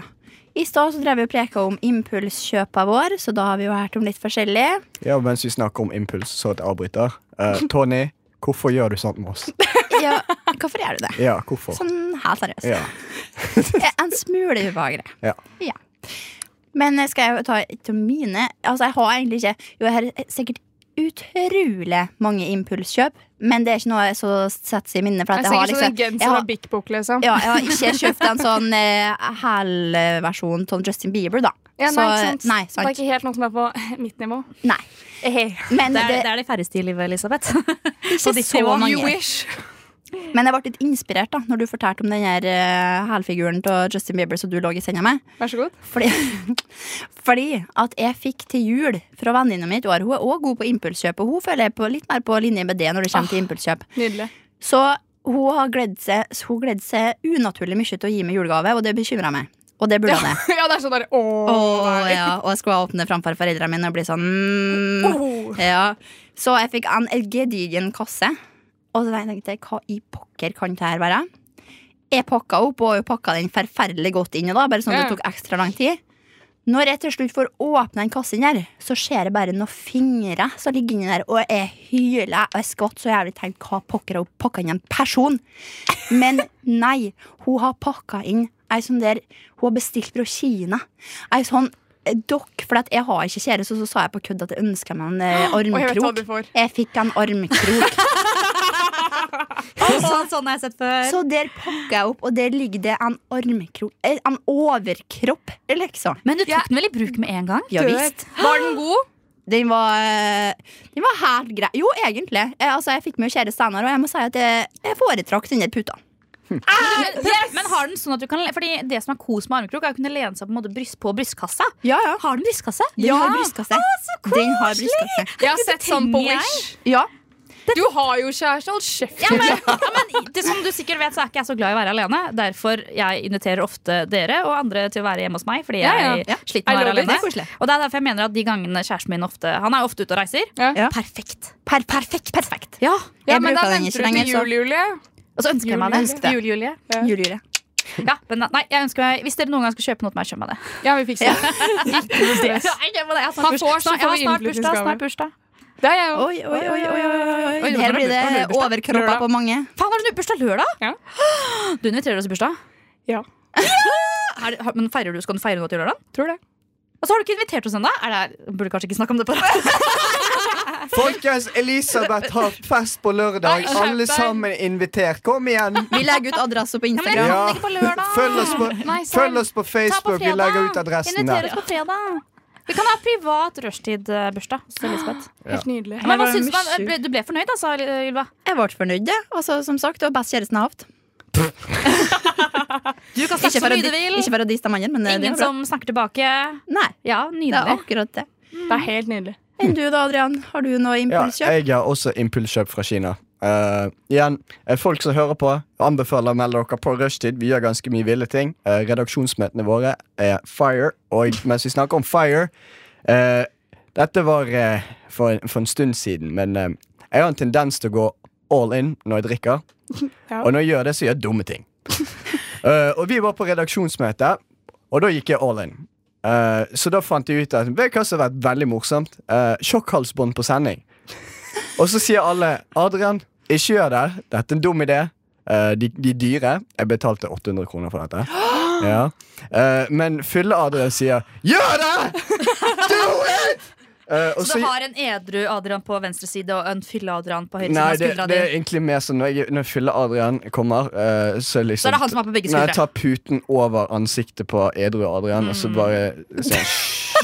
I stad så drev vi og preka om impulskjøpa vår, så da har vi jo hørt om litt forskjellig.
Ja, mens vi snakker om impuls, så et avbryter. Eh, Tony, hvorfor gjør du sånt med oss?
Ja, hvorfor gjør du det?
Ja, hvorfor?
Sånn helt seriøst.
Ja.
Eh, En smule ubehagelig.
Ja.
Men eh, skal jeg ta et av mine Altså, jeg har egentlig ikke Jo, jeg har sikkert utrolig mange impulskjøp, men det er ikke noe som setter seg i minnet. For at
Jeg
jeg, har
sikkert
liksom,
sånn en genser
jeg har-
og Big Book, liksom.
ja, jeg har ikke kjøpt en sånn eh, hæl-versjon av Justin Bieber, da.
Ja, nei,
Så,
ikke sant?
nei,
Det
sant.
er ikke helt noe som er på mitt nivå.
Nei. Men
Det er
det,
det, er de færreste i livet, Elisabeth.
Ikke
de
så
få
mange.
mange.
Men jeg ble litt inspirert da Når du fortalte om den her eh, hælfiguren til Justin Bieber som du lå i senga med.
Vær så god.
Fordi, fordi at jeg fikk til jul fra venninna mi i et år. Hun er òg god på impulskjøp, og hun føler jeg på litt mer på linje med det når det kommer til impulskjøp.
Nydelig.
Så hun har gledet seg, hun gledet seg unaturlig mye til å gi meg julegave, og det bekymra meg. Og det burde
Ja,
hun det.
ja, det er sånn der åh,
Og,
nei.
ja, og jeg skulle åpne framfor foreldrene mine og bli sånn mm,
Åh.
ja. Så jeg fikk en gedigen kasse. Og så tenkte jeg, hva i pokker kan det her være? Jeg pakka opp og jeg pakka den forferdelig godt inn. da Bare sånn at
Ja.
det tok ekstra lang tid. Når jeg til slutt får åpna den kassen, her så ser jeg bare noen fingre som ligger inni der. Og jeg hyler og jeg skvatt så jævlig. Tenkte, hva pokker har hun pakka inn en person? Men nei, hun har pakka inn ei sånn der Hun har bestilt fra Kina. Ei sånn eh, dokk, for at jeg har ikke kjæreste, og så sa jeg på kødd at jeg ønska meg en eh,
Og jeg vet hva
armkrok.
du får.
Jeg fikk en armkrok.
Sånn, sånn har jeg sett før.
Så der pakka jeg opp, og der ligger det en armkrok eh, En overkropp, liksom.
Men du tok den vel i bruk med en gang?
Ja visst.
Var den god?
Den var, eh, den var helt grei. Jo, egentlig. Jeg, altså, jeg fikk med kjære Steinar, og jeg må si at jeg, jeg foretrakk den der puta.
Men, men har den sånn at du kan Fordi det som er kos med armkrok, er å kunne lene seg på, en måte bryst, på brystkassa.
Ja, ja.
Har den brystkasse?
Den har brystkasse. den har brystkasse.
Jeg har sett sånn på
trenger jeg.
Wish.
Ja.
Du har jo kjæreste. Hold kjeft.
Ja, men, ja, men det, som du sikkert vet, så er ikke jeg så glad i å være alene. Derfor jeg inviterer ofte dere og andre til å være hjemme hos meg. Fordi jeg
Ja,
ja.
sliter med å
I
være
love it.
alene.
Det er koselig.
og det er derfor jeg mener at de gangene kjæresten min ofte Han er jo ofte ute og reiser.
Ja.
Ja.
Perfekt.
Per perfekt. perfekt.
Ja,
Ja,
Jeg
men da
bruker den
venter
ikke
du
lenger,
til
så
jul, Julie.
Og så ønsker jeg meg det.
Ønsk det.
Jul-Julie.
julejulet.
Ja, men nei, jeg ønsker meg, hvis dere noen gang skal kjøpe noe til meg, kjøp meg det.
Ja, vi fikser det.
det. Jeg kjøper det. Jeg har
Han
snart
får,
bursdag.
så
Jeg har
får vi
snart bursdag,
innflytningsgave.
snart bursdag.
Det er jeg jo.
Oi, oi, oi, oi, oi, oi.
Oi,
Her
nå
blir
har
det
du bursdag.
overkropper
Lørdag.
på mange.
Faen, har du noe bursdag lørdag?
Ja.
Du inviterer oss i bursdag?
Ja.
Er det- har- Men feirer du, Skal du feire noe til lørdag?
Tror det.
Og så har du ikke invitert oss ennå! Er det- Burde kanskje ikke snakke om det på
Folkens, Elisabeth har fest på lørdag.
Nei, skjerp
Alle
deg.
sammen er invitert. Kom igjen!
Vi legger ut adresse på
men jeg
Instagram.
kan ikke på lørdag.
Følg oss på,
Nei, sant.
følg oss på Facebook. Vi legger ut adressen
Inviter
der.
oss på fredag. Vi kan ha privat eh, rushtid-bursdag.
Helt nydelig.
Men hva
var det
syns
mye
man? Ble- Du ble fornøyd, altså, Ylva?
Jeg ble fornøyd, jeg. Altså, som sagt, det var best kjæresten jeg har hatt.
Du kan
Ikke
snakke så
for å
mye du
di-
vil.
ikke for å disse mannen, men eh, det
Ingen
var bra.
som snakker tilbake.
Nei,
Ja,
det er
nydelig.
akkurat det.
Det er helt nydelig.
Enn du da, Adrian? Har du noe
Ja,
impulskjøp?
jeg har også impulskjøp fra Kina. Eh, igjen, eh, folk som hører på, anbefaler å melde dere på rushtid. Vi gjør ganske mye ville ting. Eh, redaksjonsmøtene våre er fire. Og mens vi snakker om fire eh, Dette var eh, for, en- for en stund siden, men eh, jeg har en tendens til å gå all in når jeg drikker.
Ja.
Og når jeg gjør det, så gjør jeg dumme ting. Eh, og vi var på redaksjonsmøte, og da gikk jeg all in. Eh, så da fant jeg ut at Vet du hva som har vært veldig morsomt? Eh, Sjokkhalsbånd på sending. Og så sier alle Adrian, ikke gjør det. Dette er en dum idé. Eh, de, de dyre. Jeg betalte 800 kroner for dette. Ja. Eh, men fylle-Adrian sier 'gjør det! Do it!' Eh, og
Så du har en edru Adrian på venstre side og en fylle-Adrian på høyre side
Nei,
av
det,
skuldra
det
di?
er egentlig mer sånn når, jeg- når fylle-Adrian kommer, eh, så liksom
Så er det han som er på begge
Nei, jeg
skuldre.
tar puten over ansiktet på edru Adrian, og
Mm.
så bare sånn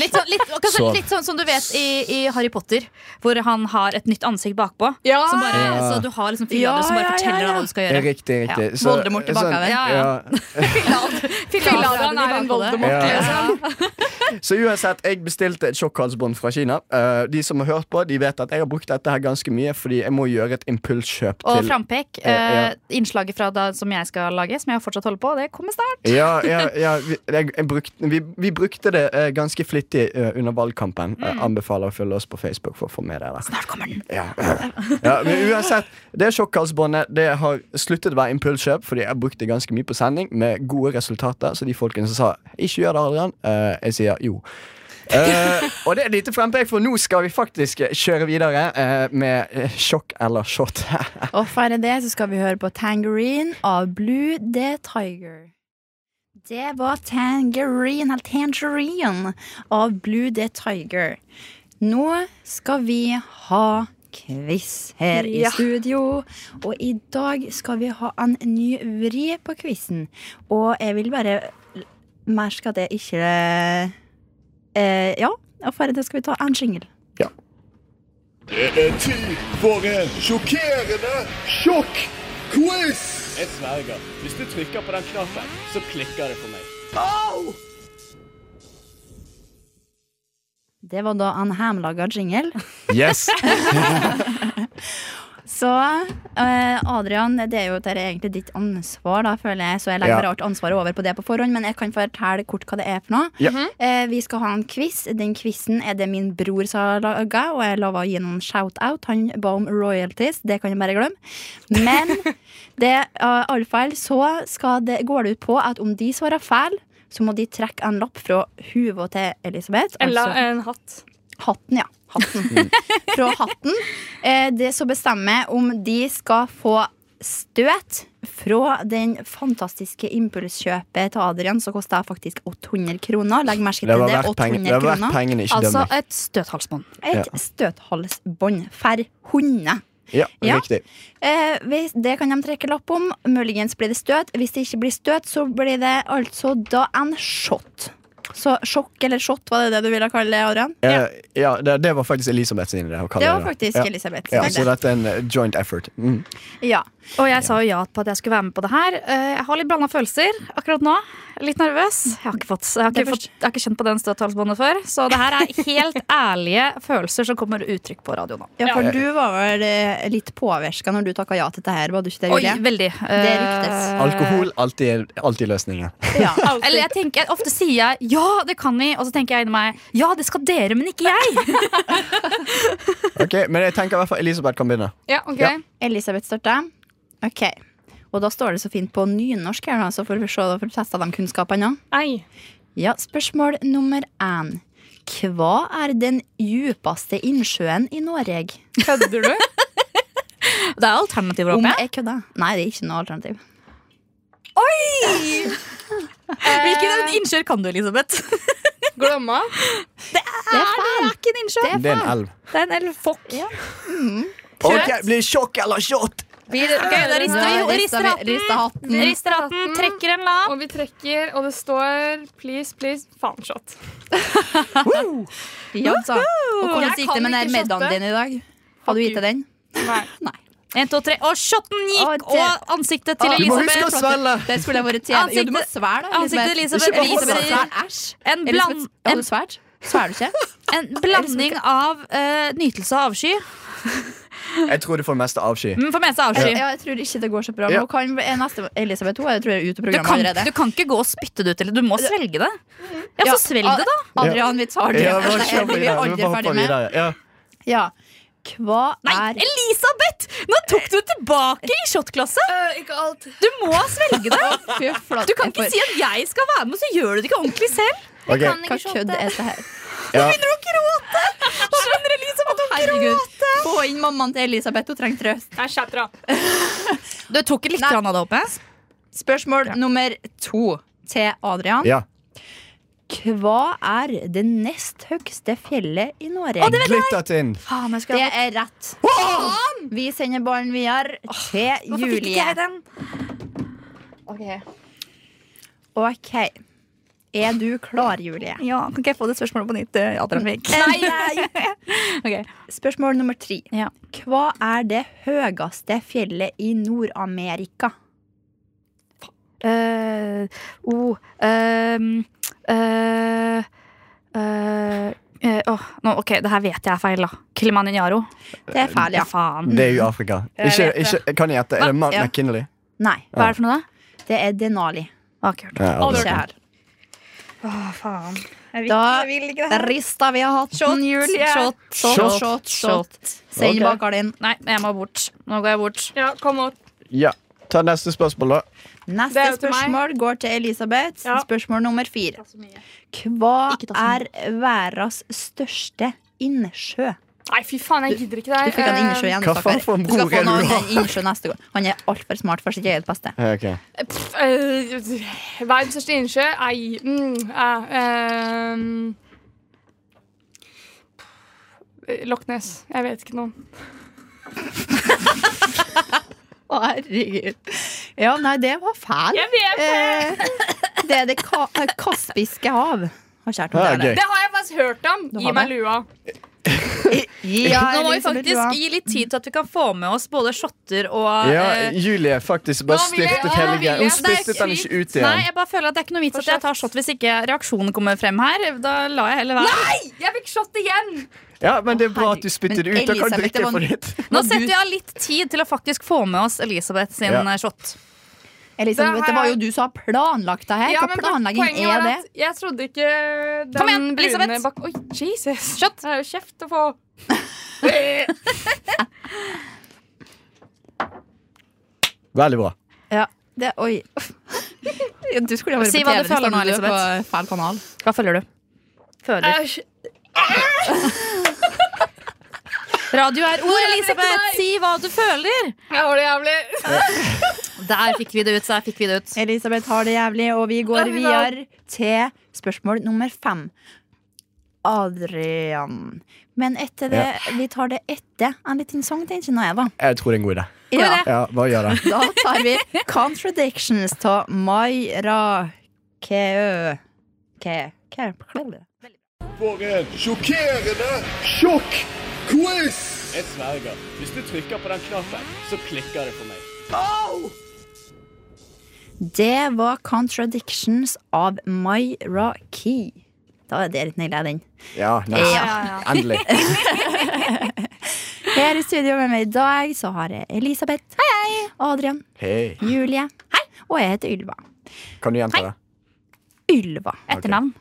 Litt, sånn, litt, og kanskje
Sov.
litt sånn som du vet i, i Harry Potter, hvor han har et nytt ansikt bakpå.
Ja!
Som bare,
Ja.
så du har liksom fylle-Adrian som
Ja,
bare
ja, ja,
forteller deg hva du skal gjøre.
Riktig, riktig. Så- sånn,
Voldemort i bakhavet.
Ja, ja.
Fylla, den er en Voldemort.
Ja. Så uansett, jeg bestilte et sjokkhalsbånd fra Kina. Eh, de som har hørt på, de vet at jeg har brukt dette her ganske mye, fordi jeg må gjøre et impulskjøp
Og
til
frampek.
Ja, ja.
eh, Innslaget fra da, som jeg skal lage, som jeg fortsatt holder på, det kommer snart.
Ja, ja, ja vi, jeg, jeg brukte, vi, vi brukte det eh, ganske flittig flittig eh, under valgkampen. Eh, anbefaler å følge oss på Facebook for å få med dere.
Mm. Snart kommer den.
Ja. ja, men uansett, det sjokkhalsbåndet Det har sluttet å være impulskjøp, fordi jeg brukte det ganske mye på sending med gode resultater. Så de folkene som sa 'ikke gjør det, Adrian', eh, jeg sier jo. Eh, og det er et lite frempek, for nå skal vi faktisk eh, kjøre videre eh, med eh, sjokk eller shot.
Og for det så skal vi høre på Tangerine av Blue The Tiger. Det var Tangerine, eller Tangerine, av Blue The Tiger. Nå skal vi ha quiz her i
Ja.
studio. Og i dag skal vi ha en ny vri på quizen. Og jeg vil bare merke at jeg ikke eh, Ja, og for det skal vi ta en jingle.
Det er tid for en sjokkerende sjokk-quiz! Jeg sverger. Hvis du trykker på den knappen, så klikker det for meg.
Det var da en hjemmelaga jingle.
Yes!
Så eh, Adrian, det er jo dette er egentlig ditt ansvar, da, føler jeg. Så jeg legger
Ja.
bare alt ansvaret over på det på forhånd, men jeg kan fortelle kort hva det er for noe.
Ja.
Eh, vi skal ha en quiz. Den quizen er det min bror som har laga, og jeg lova å gi noen shout-out. Han ba om royalties, det kan jeg bare glemme. Men det, uh, iallfall så skal det, går det ut på at om de svarer feil, så må de trekke en lapp fra huva til Elisabeth. altså-
Eller en hatt.
Hatten, ja.
Mm.
Hatten. Fra hatten. Eh, det som bestemmer om de skal få støt fra den fantastiske impulskjøpet til Adrian, som kosta faktisk 800 kroner. Legg merke
Det
til
var
det.
verdt pengene, det
800
var verdt
kroner.
pengene ikke
Altså
dømme.
et støthalsbånd.
Et støthalsbånd for hunder.
Ja,
ja.
riktig.
Eh, hvis, det kan de trekke lapp om. Muligens blir det støt. Hvis det ikke blir støt, så blir det altså da en shot. Så sjokk eller shot, var det det du ville kalle det, Adrian?
Eh, ja, det, det var faktisk Elisabeth sin idé. å kalle
Det var
da.
faktisk
ja.
Elisabeth.
Ja,
sin
så
idé.
dette er en eh, joint effort. Mm.
ja.
Og jeg sa jo ja på at jeg skulle være med på det her. Eh, Jeg har litt blanda følelser akkurat nå. Litt nervøs. Jeg har ikke, fått, jeg har
Det
ikke,
er
fått, jeg har ikke kjent på den støthalsbåndet før. Så det her er helt ærlige følelser som kommer uttrykk på radio nå.
Ja, for du var vel eh, litt påvirka når du takka ja til dette her, var du ikke det,
Oi,
Julie?
veldig.
Det ryktes.
Eh,
Alkohol alltid, alltid løsningen.
Ja.
Eller jeg tenker, ofte sier jeg 'ja, det kan vi', og så tenker jeg inni meg 'ja, det skal dere, men ikke jeg'.
Ok, Men jeg tenker i hvert fall Elisabeth kan begynne.
Ja, ok.
Ja.
Elisabeth starter. Ok. Og da står det så fint på nynorsk her, nå, så får vi se da får vi testa de kunnskapene. nå.
Ei.
Ja, spørsmål nummer én. Hva er den djupeste innsjøen i Norge?
Kødder du?
Det er alternativer,
Om
håper jeg.
jeg kødder? Nei, det er ikke noe alternativ.
Hvilken innsjøer kan du, Elisabeth?
Glomma?
Det er feil.
Det er ikke en innsjø.
Det er en elv.
Det er en elv. Fokk.
Ok, Blir sjokk eller shot?
Ok, da rister vi-
Ja,
rister
vi-
hatten.
rister hatten.
Rister hatten, trekker en lapp.
Og vi trekker, og det står please, please, faen shot.
Ja, altså. Og hvordan
Jeg
gikk det
kan
med den
ikke
her middagen
shotte.
din i dag? Hadde du gitt deg den?
Nei.
En, to, tre. Og shotten gikk!
Å, det-
Og ansiktet til
Å,
Du må huske å
Elisabeth.
svelge!
Der skulle jeg vært TV. Jo, du må
Ansiktet-
svære, da.
Ansiktet til Elisabeth
Ikke bare
viser-
svære, Æsj.
En, bland,
Elisabeth, har
en,
du svært? Sværer du ikke?
en blanding av eh, nytelse og avsky.
Jeg tror du får mest avsky.
Mm,
Men for meg så er avsky.
Ja, jeg tror ikke det går så bra.
Ja.
Nå kan eh, neste Elisabeth hun er, tror jeg, ute av
Du
programmet
kan,
allerede.
du kan ikke gå og spytte det ut, eller du må svelge det. Ja, så svelg det, da.
Adrian, vi tar det.
Ja, bare
Dette her
kjør
blir
videre.
vi
Vi
aldri
bare hopper
ferdig med.
videre. Ja.
Ja. Hva
Nei,
er
Elisabeth! Nå tok du det tilbake i shotglasset!
ikke alt.
Du må svelge det!
Fy flate,
Du
for-
kan ikke si at jeg skal være med, så gjør du det ikke ordentlig selv.
Ok,
Hva kødd er det her?
ja.
Skjønner Elisabeth?
Herregud. Få inn mammaen til Elisabeth, hun trenger trøst.
Nei, skjerp dere. da.
Du tok litt grann av det eh? oppe.
Spørsmål nummer to til Adrian.
ja.
Hva er det nest høyeste fjellet i Norge?
Glittertind.
Faen, jeg
Det er rett. Vi sender ballen videre til
Hvorfor fikk ikke
Julie.
jeg den?
Ok. Er du klar, Julie?
Ja, Kan ikke jeg få det spørsmålet på nytt? eh, Adrian Vik? Ok.
Spørsmål nummer tre.
Ja.
Hva er det høyeste fjellet i Nord-Amerika?
Eh, oh, ehm, eh, eh, eh, åh, nå, ok, det her vet jeg er feil, da. Kilimanjaro.
Eh, Det er feil, ja.
Faen.
Det er jo Afrika. Ikke, ikke, kan jeg gjette? Er det Mount
Ja.
McKinley?
Nei,
Hva er det for noe, da?
det er Denali.
Ah, kult.
Ja,
Ikke
Afrika.
her.
Åh, faen. Jeg vil,
Da-
jeg vil ikke det her.
Rista vi har hatt en jul. Shot, shot, shot. shot. Send
Ok.
bak Arlin.
Nei, jeg må bort. Nå går jeg bort.
Ja, kom opp.
Ja. Ta neste spørsmål, da.
Neste
Det er jo til meg.
spørsmål går til Elisabeth.
Ja.
Spørsmål nummer fire. Hva
Ikke ta så
er verdens største innsjø?
Nei, eh, fy faen, jeg gidder ikke
Du
det.
fikk han innsjø igjen.
Hva faen
stakkar.
for en
Du
bror
skal få
er
noen
du da?
annen innsjø neste gang. Han er altfor smart for sitt eget beste.
Ja, ok.
Eh, pff, eh, Verdens største innsjø? Nei mm, eh, ehm. Pff, Loch Ness. Jeg vet ikke noen.
Herregud. Ja, nei, det var fæl.
Jeg vet det!
Eh, det er det ka eh, kaspiske hav. Har kjært noe
Ja,
til det.
gøy.
Det har jeg faktisk hørt om.
Du
Gi
har
meg
det?
lua.
Ja,
Nå må vi
Elisabeth, du har-
faktisk gi litt tid til at vi kan få med oss både shotter og
Ja,
eh,
Julie faktisk bare
Nå vil jeg-
styrtet
nå
hele
vil
greia.
jeg-
Hun
Det er
spyttet den
sykt.
ikke ut
Nei,
igjen.
jeg bare føler at det er ikke noe vits at jeg tar shot hvis ikke reaksjonen kommer frem her. Da lar jeg heller være.
Jeg fikk shot igjen!
Ja, Men det er bra at du
Herregud.
spyttet det
Men
ut. Da kan
Elisabeth, det
drikke
var-
for ditt.
Nå
Må du-
setter jeg av litt tid til å faktisk få med oss Elisabeth sin
Ja.
eh, shot.
Elisabeth,
Det
det,
har
var
jeg-
jo du som har planlagt det her.
Ja,
Hva
men
planlegging
poenget var
er det?
at Jeg trodde ikke den
Kom igjen,
brune
Elisabeth.
bak... Oi, Jesus.
Shot.
Det er jo kjeft å få.
Veldig bra.
Ja, det, oi. Du skulle ha vært
Si
på
hva du
TV nesten,
føler nå,
du er
Elisabeth.
På feil kanal.
Hva føler du? Føler. Radio er ord, Elisabeth! Si hva du føler!
Jeg har det jævlig.
Der fikk vi det ut. Der fikk vi det ut.
Elisabeth har det jævlig, og vi går videre til spørsmål nummer fem. Adrian. Men etter det, vi tar det etter en liten sang til, kjenner jeg, da.
Jeg tror det er en god idé.
Ja.
Ja, bare gjør det.
Da tar vi Contradictions av Mayra Keø. Ke... Ke...
For en sjokkerende sjokk-quiz! Jeg sverger. Hvis du trykker på den knappen, så klikker det for meg.
Det var Contradictions av Myra Key. Da er det litt nydelig, den.
Ja, nice. Endelig.
Her i studio med meg i dag så har jeg Elisabeth. Adrian.
Hei.
Julie. Og jeg heter Ylva.
Kan du gjenta det?
Ylva.
Etternavn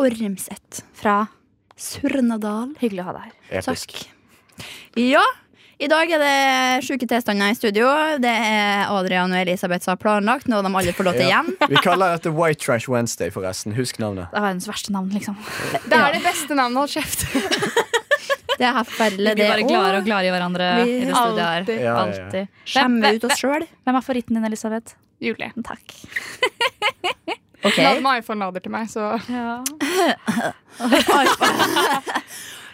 Ormseth.
fra
Surnadal.
Hyggelig å ha deg her.
Episk.
Ja. I dag er det sjuke tilstander i studio. Det er Adrian og Elisabeth som har planlagt, noe de aldri får lov til
Ja.
igjen.
Vi kaller dette White Trash Wednesday, forresten. Husk navnet.
Det er verdens verste navn, liksom.
Det er det beste navnet. Hold kjeft.
Det er forferdelig,
Vi blir
det
bare
også.
gladere og gladere i hverandre
Vi-
i det studioet her.
Alltid.
Ja, ja, ja.
Alltid. Hvem,
Skjemme ut oss sjøl.
hvem er favoritten din, Elisabeth?
Julie.
Takk.
Hun hadde med iPhone-lader til meg, så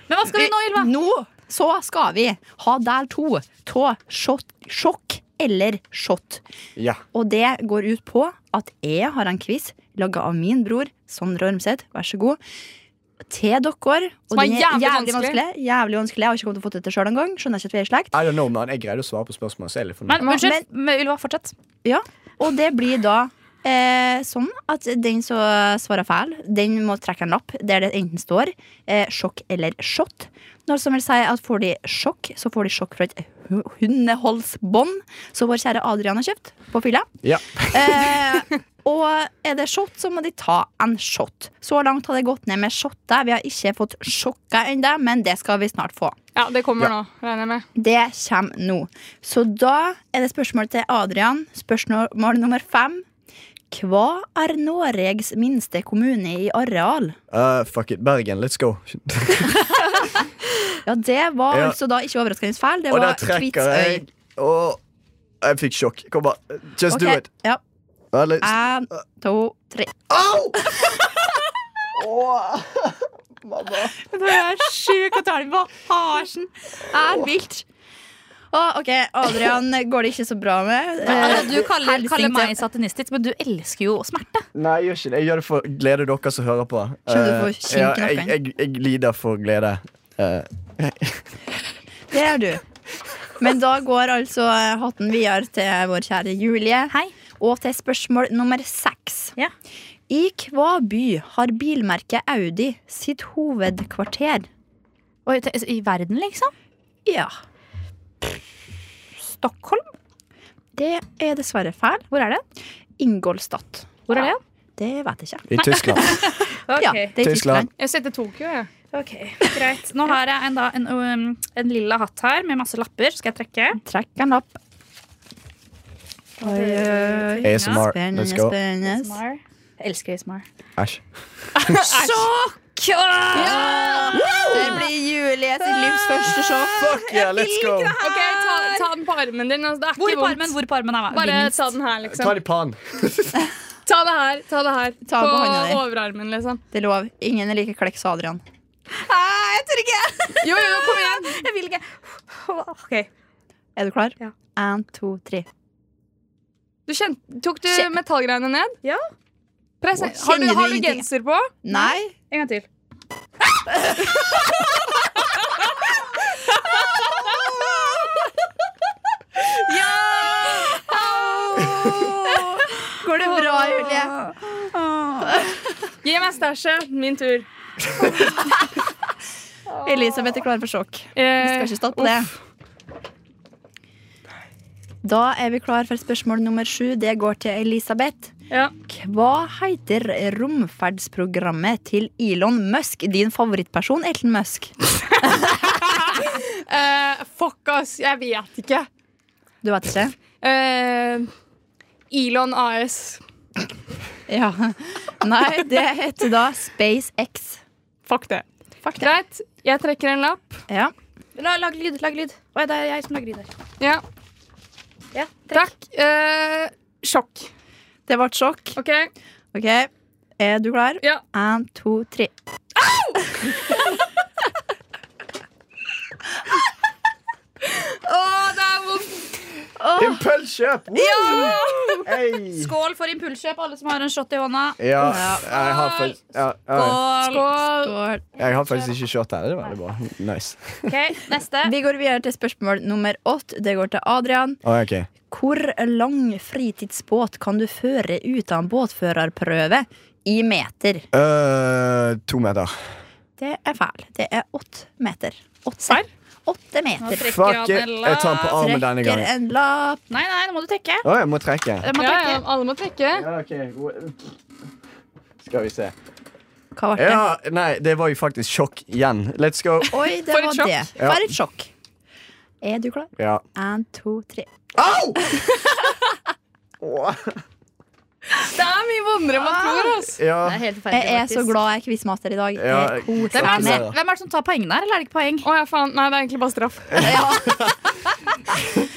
Men hva skal vi nå, Ylva?
Nå så skal vi ha del to av sjokk, sjokk eller shot.
Ja.
Og det går ut på at jeg har en quiz laga av min bror Sondre Ormseth, vær så god, til dere. Og
Som er
den er
jævlig
jævlig
vanskelig.
vanskelig. Jævlig vanskelig. Jeg har ikke kommet til å få til det sjøl engang. Skjønner ikke at vi er i slekt.
I don't know, man. Jeg greide å svare på spørsmålet. Så jeg er litt fornøyd.
Men, unnskyld, men, Ylva, fortsett.
Ja, og det blir da eh, sånn at den som svarer feil, den må trekke en lapp der det enten står eh, sjokk eller shot. Når som vil si at får de sjokk, så får de sjokk fra et hu- hundeholdsbånd som vår kjære Adrian har kjøpt på fylla.
Ja.
Eh, og er det shot, så må de ta en shot. Så langt har det gått ned med shotter. Vi har ikke fått sjokka ennå, men det skal vi snart få.
ja, det kommer nå. Regner jeg med.
Det kommer nå. Så da er det spørsmål til Adrian. Spørsmål nummer fem. Hva er Noregs minste kommune i areal?
Uh, fuck it. Bergen, let's go.
Ja, Det var
Ja.
altså da ikke overraskende feil. Det
Og
var
der trekker jeg.
Kvitsøy.
Og jeg fikk sjokk. Kom, bare. Just do
Ok,
it.
Ja.
Vent litt.
En, to, tre.
Au!
Du er sjuk og tar den på harsen. Det er vilt. Å, OK, Adrian går det ikke så bra med. Eh,
du kaller,
helsing
kaller
til-
meg satanistisk, men du elsker jo smerte.
Nei, jeg gjør ikke det. Jeg gjør det for glede dere som hører på.
Skjønner du
Eh,
for kinken
ja, jeg,
opp
jeg, jeg lider for glede. Eh,
Eh, Det gjør du. Men da går altså hatten videre til vår kjære Julie.
Hei.
Og til spørsmål nummer seks.
Ja.
I hva by har bilmerket Audi sitt hovedkvarter?
Oi, te- I verden, liksom?
Ja,
Stockholm?
det er dessverre feil.
Hvor er det?
Ingolstadt.
Hvor er det?
Det vet jeg ikke.
I Tyskland.
Ja, det er i
Tyskland.
Tyskland.
Jeg har sett det i Tokyo, jeg.
Ok, greit. Nå har jeg en, da, en, um, en lilla hatt her med masse lapper. Skal jeg trekke?
Trekk en lapp. Oi, oi, oi.
ASMR.
Spennende,
Let's go.
spennende.
ASMR. Jeg elsker ASMR.
Æsj.
Sjokk!
Det blir Julie sitt livs første sjokk.
Fuck yeah, let's go!
Ok, ta, ta den på Ah! armen din. Altså, det er
Hvor
ikke
på
vondt.
armen? Hvor på armen er
Bare
vinst?
ta den her,
Ta
liksom.
det i pannen.
Ta det her. ta det her
Ta på hånda di.
På overarmen, liksom.
Det er lov. Ingen er like klekk som Adrian.
Ah, jeg tør ikke!
Jo, jo, kom igjen!
Jeg vil ikke. Ok.
Er du klar?
Ja.
En, to, tre.
Du kjente, tok du
Kje-
metallgreiene ned?
Ja.
Press,
Wow.
har, du,
Kjenner du
har du
ingenting?
genser på?
Nei.
En gang til.
Går det bra, Julie?
Gi meg stæsjet. Min tur.
Elisabeth er klar for sjokk. Vi
Eh,
skal ikke stoppe det. Da er vi klar for spørsmål nummer sju. Det går til Elisabeth.
Ja.
Hva heter romferdsprogrammet til Elon Musk, din favorittperson Elton Musk?
eh, fuck, ass. Jeg vet ikke.
Du vet ikke?
Eh, Elon AS.
Ja. Nei, det heter da SpaceX.
Fuck det. Greit. Jeg trekker en lapp.
Ja.
La, lag lyd. lag lyd. Oi, det er jeg som lager lyd her.
Ja,
Ja,
Takk. Eh, sjokk.
Det ble sjokk.
OK.
Ok, Er du klar?
Ja.
En, to, tre.
Å, det er vondt.
Impulskjøp! Ja! Hey.
Skål for impulskjøp, alle som har en shot i hånda.
Ja, jeg har faktisk ja, ja,
Skål.
Skål.
Skål.
Jeg har faktisk ikke shot her. Det var veldig bra. Nice.
Ok, Neste.
Vi går videre til spørsmål nummer åtte. Det går til Adrian.
Å, ok.
Hvor lang fritidsbåt kan du føre uten båtførerprøve i meter?
Øh, to meter.
Det er feil. Det er åtte meter. Åtte,
Serr?
åtte meter.
Fuck it. Jeg tar den på armen denne
Trekker
gangen.
en lapp.
Nei, nei, nå må du trekke.
Å, jeg må trekke.
Du må
Ja,
trekke.
ja, alle må trekke.
Ja, ok. Skal vi se.
Hva ble det?
Ja, nei, det var jo faktisk sjokk igjen. Let's go.
Oi, det
For et
var
sjokk.
det.
Ja.
For et sjokk. Er du klar?
Ja.
En, to, tre.
Au! Åh.
Det er mye vondere
Ah!
enn man tror. ass.
Ja.
Det er helt forferdelig,
Jeg er så
faktisk.
glad jeg er quizmaster i dag.
Ja,
Jeg koser
Hvem er,
meg.
Nei.
det, som- hvem er det som tar poengene her, eller er det ikke poeng?
Å ja, faen. Nei, det er egentlig bare straff.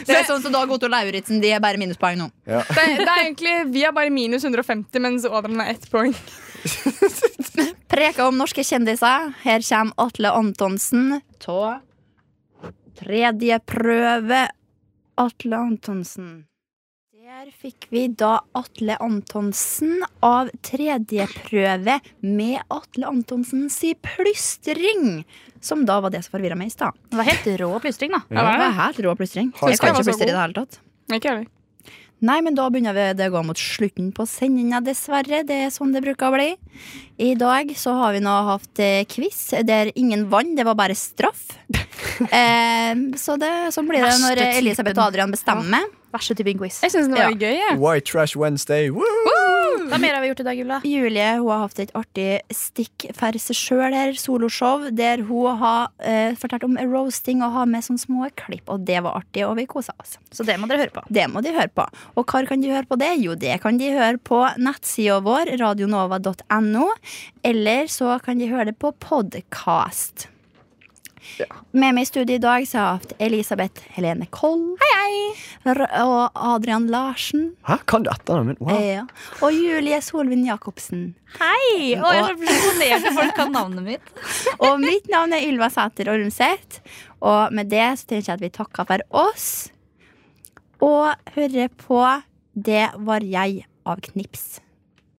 Det er sånn som Dag Otto Lauritzen. De er bare minuspoeng nå.
Det, det er egentlig, Vi er bare minus 150, mens Adrian er ett poeng.
Preka om norske kjendiser. Her kommer Atle Antonsen ta tredje prøve. Atle Antonsen. Der fikk vi da Atle Antonsen av tredje prøve med Atle Antonsens plystring. Som da var det som forvirra meg i stad.
Det var helt rå plystring, da.
Det var helt rå plystring.
Har-
Jeg kan
Skal jeg
ikke
være så
plystre i det hele tatt.
Ikke heller.
Nei, men da begynner vi det å gå mot slutten på sendinga, dessverre. Det er sånn det bruker å bli. I dag så har vi nå hatt eh, quiz der ingen vant, det var bare straff. eh, så det, sånn blir det når
Verste typen.
Elisabeth og Adrian bestemmer.
Verste typen quiz.
Jeg syns den var
Ja.
gøy. jeg.
White Trash Wednesday. Woo!
Hva mer har vi gjort i dag, Julia?
Julie hun har hatt et artig stikk for seg sjøl her, soloshow, der hun har eh, fortalt om roasting og har med sånne små klipp. Og det var artig, og vi kosa oss.
Så det må dere høre på.
Det må de høre på. Og hvor kan de høre på det? Jo, det kan de høre på nettsida vår, radionova.no, eller så kan de høre det på podkast. Med meg i studio i dag så har jeg hatt Elisabeth Helene Koll. R- Og Adrian Larsen.
Hæ, kan du etternavnet mitt? Wow.
eh, ja. Og Julie Solvin Jacobsen.
Hei! Å, jeg blir så imponert når folk kan navnet mitt.
Og mitt navn er Ylva Sæter Ormseth. Og med det så tenker jeg at vi takker for oss. Og hører på Det var jeg av Knips.